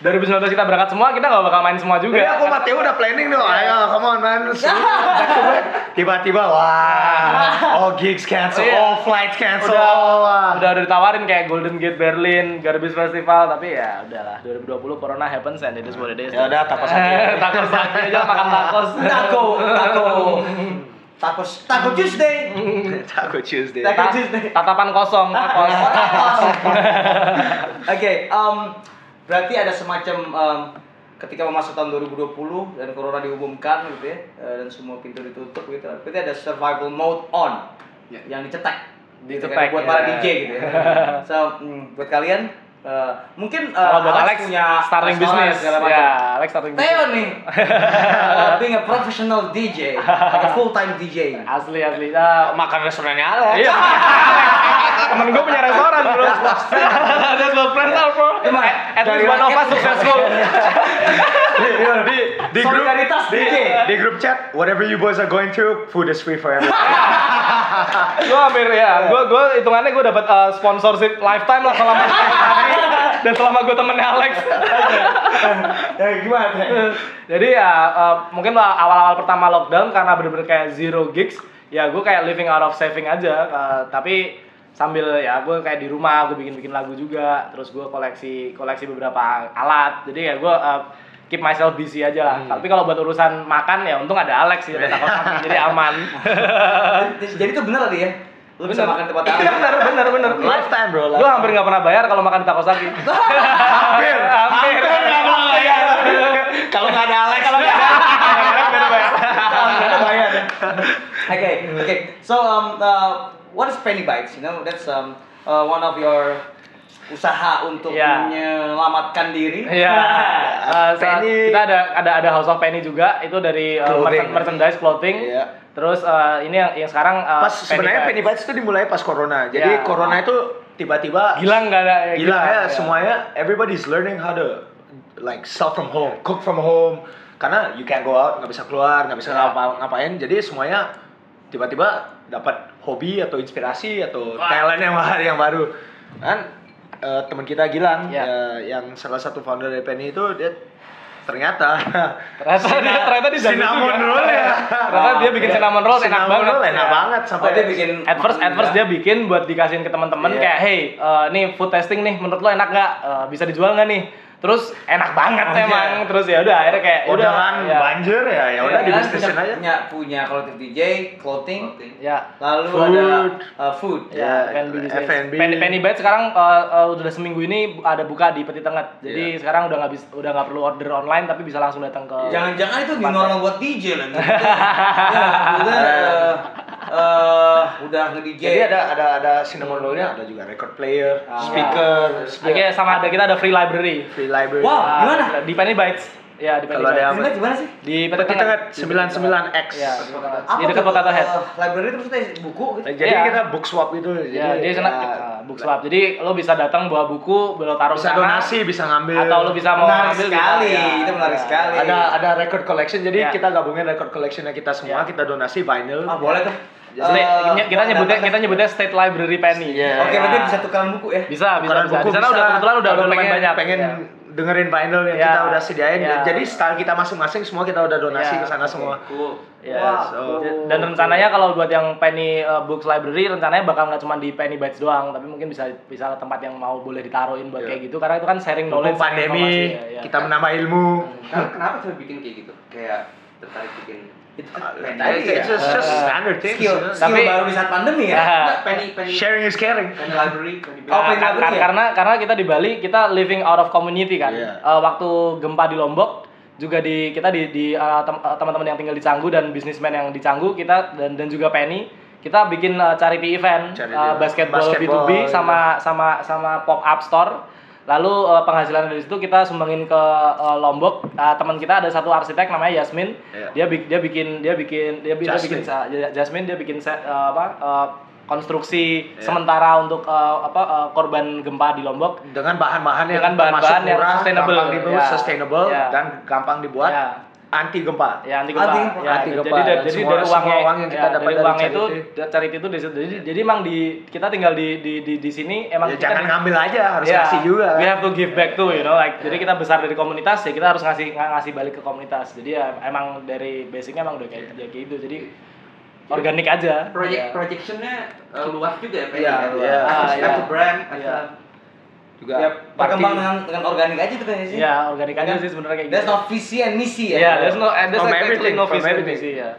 D: 2019 kita berangkat semua, kita nggak bakal main semua juga.
C: Jadi aku sama Theo udah planning tuh,
D: Iya.
C: ayo come on
B: (laughs)
C: man. Tiba-tiba wah, all gigs cancel,
D: Iya.
C: all flights cancel.
D: Udah,
C: wah.
D: udah udah ditawarin kayak Golden Gate Berlin, Garbage Festival, tapi ya udahlah 2020 corona happens and it is what it is.
C: Ya udah, takos aja.
D: (laughs) takos aja, aja makan takos.
B: Taco, taco. Tacos, taco
D: (laughs)
B: Tuesday.
C: Taco Tuesday.
B: Taco
D: Ta-
B: Tuesday.
D: tatapan kosong,
C: (laughs)
D: takos.
B: Oke, em, berarti ada semacam em, ketika mau masuk tahun 2020 dan corona diumumkan gitu ya eh, dan semua pintu ditutup gitu. Berarti ada survival mode on
E: Ya.
B: yang dicetek. Gitu
D: Dicetek,
B: kan, buat para
D: ya.
B: DJ gitu ya. So, mm, buat kalian eh, mungkin eh,
D: Kalau buat Alex,
B: punya
D: starting
B: restoran
D: bisnis.
B: segala macam.
D: Ya, Alex starting
B: Theo
D: bisnis.
B: nih,
D: (laughs)
B: eh, being a professional DJ, like a full time DJ.
D: Eh, Asli asli. Ah, (laughs)
C: Makan restorannya Alex.
D: iya. temen gue punya restoran bro that's what friends are for at, at least one of us successful
C: di di grup
E: Solidaritas,
C: di,
E: DJ.
C: di grup chat whatever you boys are going through food is free for everyone
D: gue hampir ya gue gue hitungannya gue dapat eh, sponsorship lifetime lah (laughs) selama dan selama gue temennya Alex
C: gimana Teng?
D: jadi ya eh, mungkin lah awal-awal pertama lockdown karena bener-bener kayak zero gigs ya gue kayak living out of saving aja eh, tapi sambil ya gue kayak di rumah gue bikin-bikin lagu juga terus gue koleksi koleksi beberapa alat jadi ya gue eh, keep myself busy aja lah tapi kalau buat urusan makan ya untung ada Alex ya ada (laughs) Kak Otak, jadi aman
E: Jadi itu bener tadi ya. Lu bisa
D: Bener.
E: makan tempat
D: Iya,
E: lain.
D: bener bener bener
C: lifetime bro
D: Gue hampir nggak pernah bayar kalau makan di takosaki. (laughs) hampir, hampir. nggak pernah bayar.
C: kalau nggak ada Alex
D: Iya. Kalau nggak ada, iya. hampir bayar.
E: Okay, okay. So um, uh, what is Penny Bites? You know, that's um, uh, one of your usaha untuk
D: Yeah.
E: menyelamatkan
C: (laughs)
E: diri.
D: Iya. Eh, saat-
C: Penny.
D: kita ada ada ada House of Penny juga. Itu dari eh,
C: Clothing.
D: merchan- merchandise clothing.
C: Iya.
D: Terus eh, ini yang yang sekarang eh,
C: pas sebenarnya
D: Bites.
C: Penny Bites itu dimulai pas corona jadi
D: Ya.
C: corona itu tiba-tiba
D: Gila nggak ada?
C: gila ya
D: iya.
C: semuanya everybody's learning how to like sell from home cook from home karena you can't go out nggak bisa keluar nggak bisa
D: Ya.
C: ngapa- ngapain jadi semuanya tiba-tiba dapat hobi atau inspirasi atau
D: Wah.
C: talent yang baru yang baru kan eh, teman kita Gilang
D: Ya.
C: eh, yang salah satu founder dari Penny itu dia ternyata
D: (laughs) Ternyata dia ternyata di
C: cinnamon roll ya
D: Ternyata dia bikin cinnamon roll enak
C: Cinnamon
D: banget.
C: roll enak
D: Iya.
C: banget sampai
E: Oh, dia bikin
D: at first at first dia bikin buat dikasihin ke teman-teman
C: Iya.
D: kayak hey eh, nih food testing nih menurut lo enak nggak Eh, bisa dijual nggak nih terus enak banget
C: Iya.
D: emang terus ya udah akhirnya kayak udah
C: orderan
D: ya,
C: banjir ya ya udah
D: Iya. kan?
E: Kalian
C: dibisnisin
E: punya,
C: aja
E: Punya, punya kolektif DJ, clothing,
D: ya
E: lalu
C: Food.
E: ada uh, food.
D: ya
C: Ya,
D: F&B business.
C: F&B.
D: Penny, Penny Bite sekarang eh, eh, udah seminggu ini ada buka di Peti Tengah
C: Iya.
D: jadi sekarang udah nggak bisa udah nggak perlu order online tapi bisa langsung datang ke
E: Jangan-jangan itu new normal buat DJ (laughs) lah. gitu. ya, udah, uh, uh, udah nge DJ.
D: Iya,
C: Jadi ada ada ada cinnamon rollnya, ada juga record player,
D: Ah.
C: speaker,
D: Oke,
C: speaker,
D: Iya. sama ada kita ada free library
C: free library.
E: Wow.
D: Ah,
E: Gimana?
D: di Penny Bites ya di Penny
C: Kalau ada
D: Bites
C: yang-
E: Gimana, gimana sih?
D: di Peti
C: Peti
D: Tengah
C: Tengah 99X.
D: ya di Peti Tengah.
E: Apa
D: di dekat
E: tuh,
D: Potato Head
E: uh, library itu maksudnya buku gitu.
C: Nah, Jadi
D: Iya.
C: kita book swap itu.
D: Ya,
C: jadi,
D: dia senang
C: ya,
D: ah, book swap. Jadi lo bisa datang bawa buku, lo taruh
C: bisa
D: sana,
C: donasi, bisa ngambil.
D: atau lo bisa mau
E: Menarik
D: ambil, bisa.
E: sekali,
D: Ya,
E: itu menarik
D: ya.
E: sekali.
C: ada ada record collection. Jadi
D: Iya.
C: kita gabungin record collectionnya kita semua,
D: Iya.
C: kita donasi vinyl.
E: Ah, boleh tuh.
D: Jadi,
E: Eh,
D: ny- kita nyebutnya
E: datang.
D: kita nyebutnya State Library Penny.
C: Iya.
E: Oke, berarti bisa tukeran buku ya?
D: Bisa, bisa,
C: Tukeran
D: bisa.
C: buku
D: Di sana
C: bisa.
D: udah kebetulan udah
C: Kalau
D: udah lumayan
C: pengen-
D: banyak.
C: Pengen
D: Ya.
C: dengerin vinyl yang
D: Iya.
C: kita udah sediain.
D: Iya.
C: Jadi style kita masing-masing semua kita udah donasi
D: Iya.
C: ke sana semua.
D: Ya,
C: Wah,
D: so-
C: cool.
D: dan rencananya kalau buat yang Penny uh, Books Library rencananya bakal nggak cuma di Penny Bites doang, tapi mungkin bisa bisa tempat yang mau boleh ditaruhin buat
C: Iya.
D: kayak gitu karena itu kan sharing
C: Mumpung
D: knowledge. sama
C: pandemi,
D: informasi, Hmm. ya, ya.
C: kita menambah ilmu.
E: Kenapa, kenapa coba bikin kayak gitu? Kayak tertarik bikin itu kan
D: Iya.
C: It's,
E: ya.
C: Nah, it's just, just
D: Uh,
C: standard things. you
E: skill,
C: know.
E: skill
D: Nah, Tapi-
E: baru di saat pandemi ya.
D: Ah.
E: Nah, penny, penny,
C: Sharing is caring.
E: penny library, penny
D: Oh,
E: penny
D: kar- kar- karena karena kita di Bali kita living out of community kan.
C: Iya.
D: Eh, waktu gempa di Lombok juga di kita di, di eh, tem- eh, teman-teman yang tinggal di Canggu dan bisnismen yang di Canggu kita dan dan juga Penny kita bikin eh, charity event
C: Charity
D: eh,
C: event.
D: basketball,
C: Basketball, iya.
D: B2B sama sama sama pop up store. Lalu eh, penghasilan dari situ kita sumbangin ke eh, Lombok. Eh, teman kita ada satu arsitek namanya Yasmin.
C: Iya.
D: Dia bi- dia bikin dia bikin dia, bi- dia
C: Jasmine.
D: bikin sa- Ja- Jasmine dia bikin set eh, apa eh, konstruksi
C: Iya.
D: sementara untuk eh, apa eh, korban gempa di Lombok.
C: dengan bahan-bahan yang
D: Dengan bahan-bahan
C: termasuk
D: yang
C: murah,
D: sustainable.
C: gampang dibuat,
D: Ya.
C: sustainable
D: Ya.
C: dan gampang dibuat
D: Ya.
C: anti gempa.
D: Ya anti gempa.
E: Anti gempa.
D: Ya,
C: Anti gempa.
D: Jadi, dari-
C: Dan
D: jadi
C: semua-
D: dari uangnya,
C: semua uang yang kita
D: ya,
C: dapat
D: dari
C: dari
D: uangnya itu
C: charity.
D: da- charity itu dari situ. Jadi, jadi emang di kita tinggal di di di, di sini emang
C: Ya,
D: kita
C: jangan
D: di-
C: ngambil aja, harus
D: Ya,
C: kasih juga. kan? Ya.
D: We have to give back too, you know. Like jadi kita besar dari komunitas ya kita harus ngasih ng- ngasih balik ke komunitas. Jadi ya emang dari basicnya emang udah kayak
C: Ya.
D: kayak gitu. Jadi organik aja.
E: Project
D: Ya.
E: projectionnya uh, luas juga ya, penny.
C: Iya,
E: ya,
C: iya.
E: As-
D: Ah, iya.
E: as a brand, as
D: Iya.
E: a
C: Juga
E: ya, berkembang
C: party.
E: dengan dengan organik aja tuh kayaknya sih.
D: Iya, organik aja sih sebenarnya kayak
E: That's
D: gitu.
E: not visi and misi
D: Iya,
E: ya.
D: there's no eh, there's
C: From
D: actually
C: everything,
D: no
C: from
D: vision
C: everything.
D: sih, ya.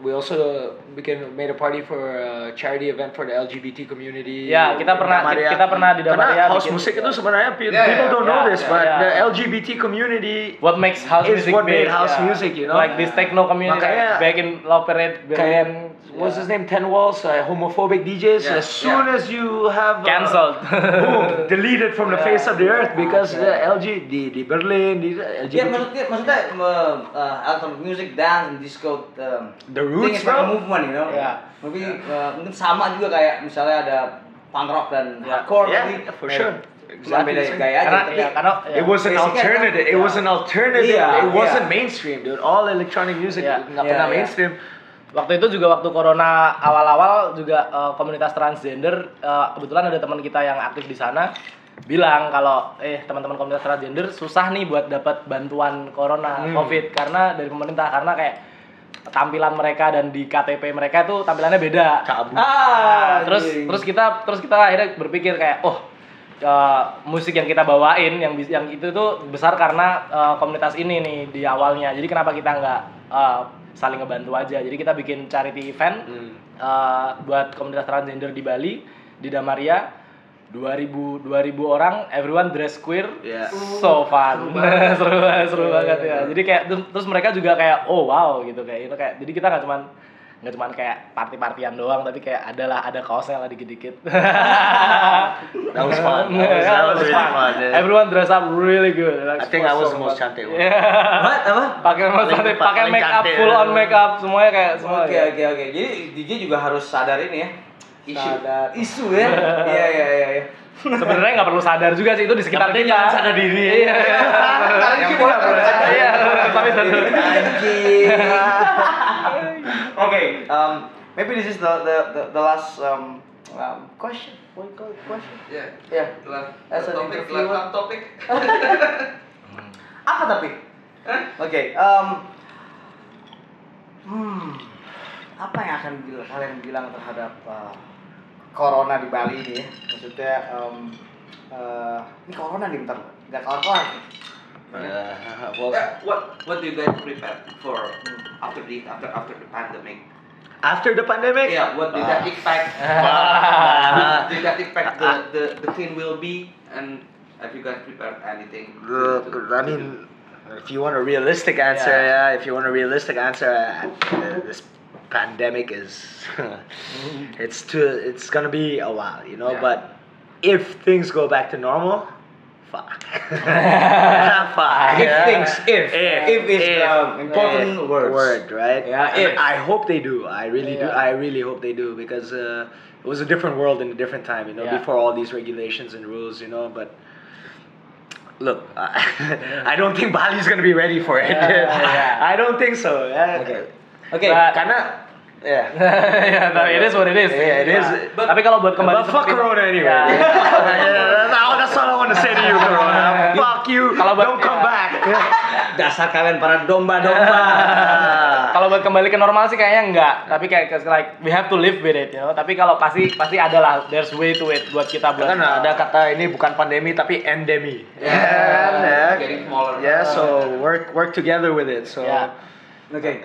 C: We also bikin made a party for a charity event for the LGBT community.
D: Ya, kita pernah-
C: Damaria.
D: kita pernah di Damaria
C: Iya, Karena house
D: bikin-
C: music itu sebenarnya people
E: Ya, ya,
C: don't know
D: ya,
C: this,
D: ya,
C: but
D: ya.
C: the LGBT community
D: What makes house
C: It's
D: music
C: what made
D: big,
C: house
D: ya.
C: music, you know?
D: Like this techno community
C: Makanya-
D: like back in Love Parade, Berlin,
C: kayak what's his name Ten Walls, uh, homophobic DJs.
E: Yeah,
C: As soon
E: yeah.
C: as you have uh, (laughs)
D: cancelled. (laughs)
C: boom, deleted from the face of the earth because the LG di di Berlin uh, di
B: Iya,
E: Ya
C: LGBT
E: maksudnya maksudnya me-
B: eh,
E: uh, electronic music, dance, and disco um,
C: The
E: thing
C: roots,
E: is like a
C: bro.
E: movement, you know.
D: Ya.
B: eh,
E: Mungkin uh, mungkin sama juga kayak misalnya ada
B: punk rock dan hardcore
C: Yeah,
B: tadi.
C: for
B: Eh,
C: sure.
B: Cuma beda
C: Exactly.
B: gaya aja.
D: Karena,
B: Tapi
D: ya,
B: (laughs)
D: karena
C: It was an
B: Basically,
C: alternative. It
B: yeah.
C: was an alternative.
B: Yeah,
C: It wasn't
B: yeah.
C: mainstream, dude. All electronic music
D: Yeah,
C: nggak
B: yeah,
C: pernah
B: yeah.
C: mainstream.
D: waktu itu juga waktu corona awal-awal juga eh, komunitas transgender eh, kebetulan ada teman kita yang aktif di sana bilang kalau eh teman-teman komunitas transgender susah nih buat dapat bantuan corona
C: Hmm.
D: covid karena dari pemerintah karena kayak tampilan mereka dan di KTP mereka itu tampilannya beda
C: Kabur.
D: Ah, terus terus kita terus kita akhirnya berpikir kayak oh eh, musik yang kita bawain yang bis- yang itu tuh besar karena eh, komunitas ini nih di awalnya jadi kenapa kita nggak eh, saling ngebantu aja jadi kita bikin charity event eh, buat komunitas transgender di Bali di Damaria 2000 2000 orang everyone dress queer
C: Yeah.
D: so fun (laughs) seru banget seru banget ya jadi kayak terus- terus mereka juga kayak oh wow gitu kayak itu kayak jadi kita nggak cuman nggak cuman kayak party-partian doang tapi kayak adalah ada kaosnya lah dikit-dikit
C: That was fun. That was, that
D: Yeah,
C: was
D: it was
C: really fun.
D: fun.
C: dude.
D: everyone dress up really good
C: I think I was the most cantik one. (laughs)
B: What? Apa?
D: pakai mas
C: Paling-
D: pakai
C: paling
D: make up
C: cantik.
D: full on make up semuanya kayak
C: Oh,
D: semua
B: Oke
D: ya.
B: oke oke. Jadi DJ juga harus sadar ini ya. Isu.
D: Sadar.
B: Isu
C: (laughs)
B: ya. Iya iya iya. iya.
D: sebenarnya nggak perlu sadar juga sih itu di sekitar
C: penting
D: kita
C: jangan sadar diri.
D: iya
B: Yang kita
D: perlu sadar. Iya, tapi sadar.
C: iya.
B: Oke,
C: (laughs)
B: um, maybe this is the the the, the last um, um, question. What you call it? question?
E: Yeah.
B: Yeah.
E: Last,
B: As an
E: last topic,
B: interviewer.
E: last topic.
B: Apa tapi? Oke, um, hmm, apa yang akan bil- kalian bilang terhadap uh, corona di Bali ini? ya? Maksudnya, um, uh, ini corona nih bentar, nggak kelar-kelar.
C: Uh, (laughs) well,
E: Yeah, Eh, what What do you guys prepare for after the after after the pandemic?
C: after the pandemic,
E: Yeah. What did that impact? did that impact the, the the thing will be? And have you guys prepared anything? to- to-
C: Look, I mean, if you want a realistic answer, yeah. if you want a realistic answer, uh, uh, this
B: (laughs)
C: pandemic is, it's too, it's gonna be a while, you know.
E: Yeah.
C: But if things go back to normal,
B: (laughs)
C: fuck, (laughs)
B: If
C: fuck. yeah.
B: things, if. If is the important
C: if
B: words.
C: Word, right?
B: Yeah,
C: And
B: if.
C: I hope they do. I really do.
D: Yeah.
C: I really hope they do because uh, it was a different world and a different time, you know,
D: Yeah.
C: before all these regulations and rules, you know, but look, (laughs) I, I don't think Bali's going to be ready for it.
D: Yeah.
C: I don't think so. Uh, Yeah. (laughs)
B: Okay. Oke,
D: But-
C: Kinda, yeah.
D: ya tapi it is what it is
C: Yeah, Iya, it is.
D: Nah, tapi kalau buat kembali
C: But fuck
D: seperti-
C: Corona anyway.
D: Ya.
C: Yeah. Nah, (laughs) that's all I want to say to you, (laughs) Corona. Fuck you.
D: Kalau buat- Iya.
C: Don't come
D: yeah.
C: back.
B: dasar kalian para domba-domba.
C: (laughs)
D: kalau buat kembali ke normal sih kayaknya enggak tapi kayak kayak- like we have to live with it you know tapi kalau pasti pasti ada lah there's way to it buat kita buat
C: Kan ada kata ini bukan pandemi tapi endemi.
E: Yeah,
C: yeah.
E: Getting smaller.
C: Yeah, so work work together with it. So
D: Yeah.
B: Oke.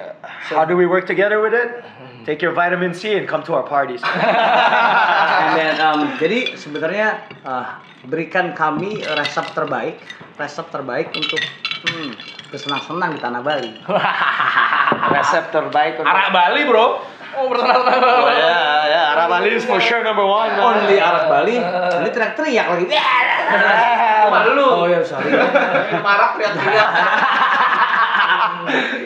C: how do we work together with it? Take your vitamin C and come to our parties.
B: And then, um, jadi sebenarnya uh, berikan kami resep terbaik, resep terbaik untuk hmm, bersenang-senang di tanah Bali.
C: (laughs) Resep terbaik untuk-
D: arah Bali bro oh
C: Oh,
D: bersenang-senang
C: yeah, yeah, Arab Ali is for sure number one. man.
B: Only arah Bali, ini teriak-teriak
D: (laughs)
B: lagi.
E: Apa dulu?
B: Oh ya sorry.
E: Marak teriak-teriak.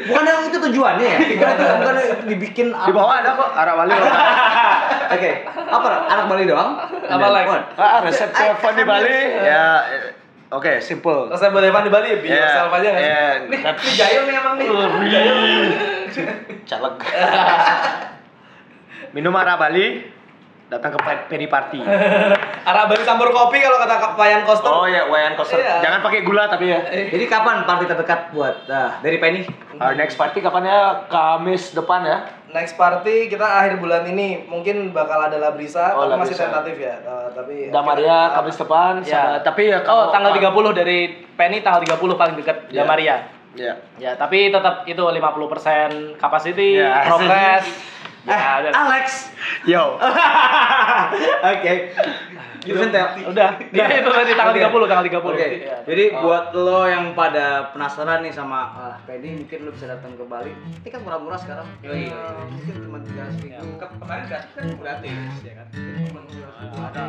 B: Bukan yang itu tujuannya
D: (laughs)
B: ya. Bukan itu, bukan itu dibikin
C: Di
B: apa.
C: bawah ada kok Arab Ali.
B: Oke, apa anak Bali doang?
D: Apa lagi?
C: (laughs) Ah, resep telepon di Bali. Ya, eh, oke, simple. ya.
D: terus saya boleh di Bali ya be
C: Yeah,
D: yourself aja nggak sih?
C: yeah.
E: Ini Jayo nih emang nih.
C: Oh, Caleg. Minum Arab Ali, datang ke peri party.
D: arah Bali campur kopi kalau kata kepayan
C: Oh
D: kostum
C: ya, wayan koster.
D: Iya.
C: Jangan pakai gula tapi ya.
B: Jadi kapan party terdekat buat ah, dari Penny?
C: Our next party kapan ya? Kamis depan ya.
D: next party kita akhir bulan ini mungkin bakal ada Labrisa
C: Oh, La
D: tapi masih
C: Brisa.
D: tentatif ya Eh, tapi
C: Damaria ya, Kamis depan. Sama,
D: Ya.
C: tapi ya
D: oh Iya.
C: kalau
D: tanggal 30 dari Penny tanggal 30 paling dekat
C: Ya.
D: Damaria
C: Ya.
D: Ya, tapi tetap itu 50% capacity,
C: Ya,
D: progress. Ya, udah.
B: Eh, Alex.
C: Yo.
B: (laughs) Oke. Listen, Tel.
D: udah. Ya, itu tadi tanggal 30, tanggal 30.
B: Oke, iya.
D: Ya.
B: jadi buat lo yang pada penasaran nih sama ah, Penny, mungkin lo bisa datang ke Bali. Ini kan murah-murah sekarang.
E: Yoi.
B: Mungkin cuma tiga ratus ribu.
E: Kemarin gratis kan gratis ya kan. Cuma 100 ribu.
B: Ada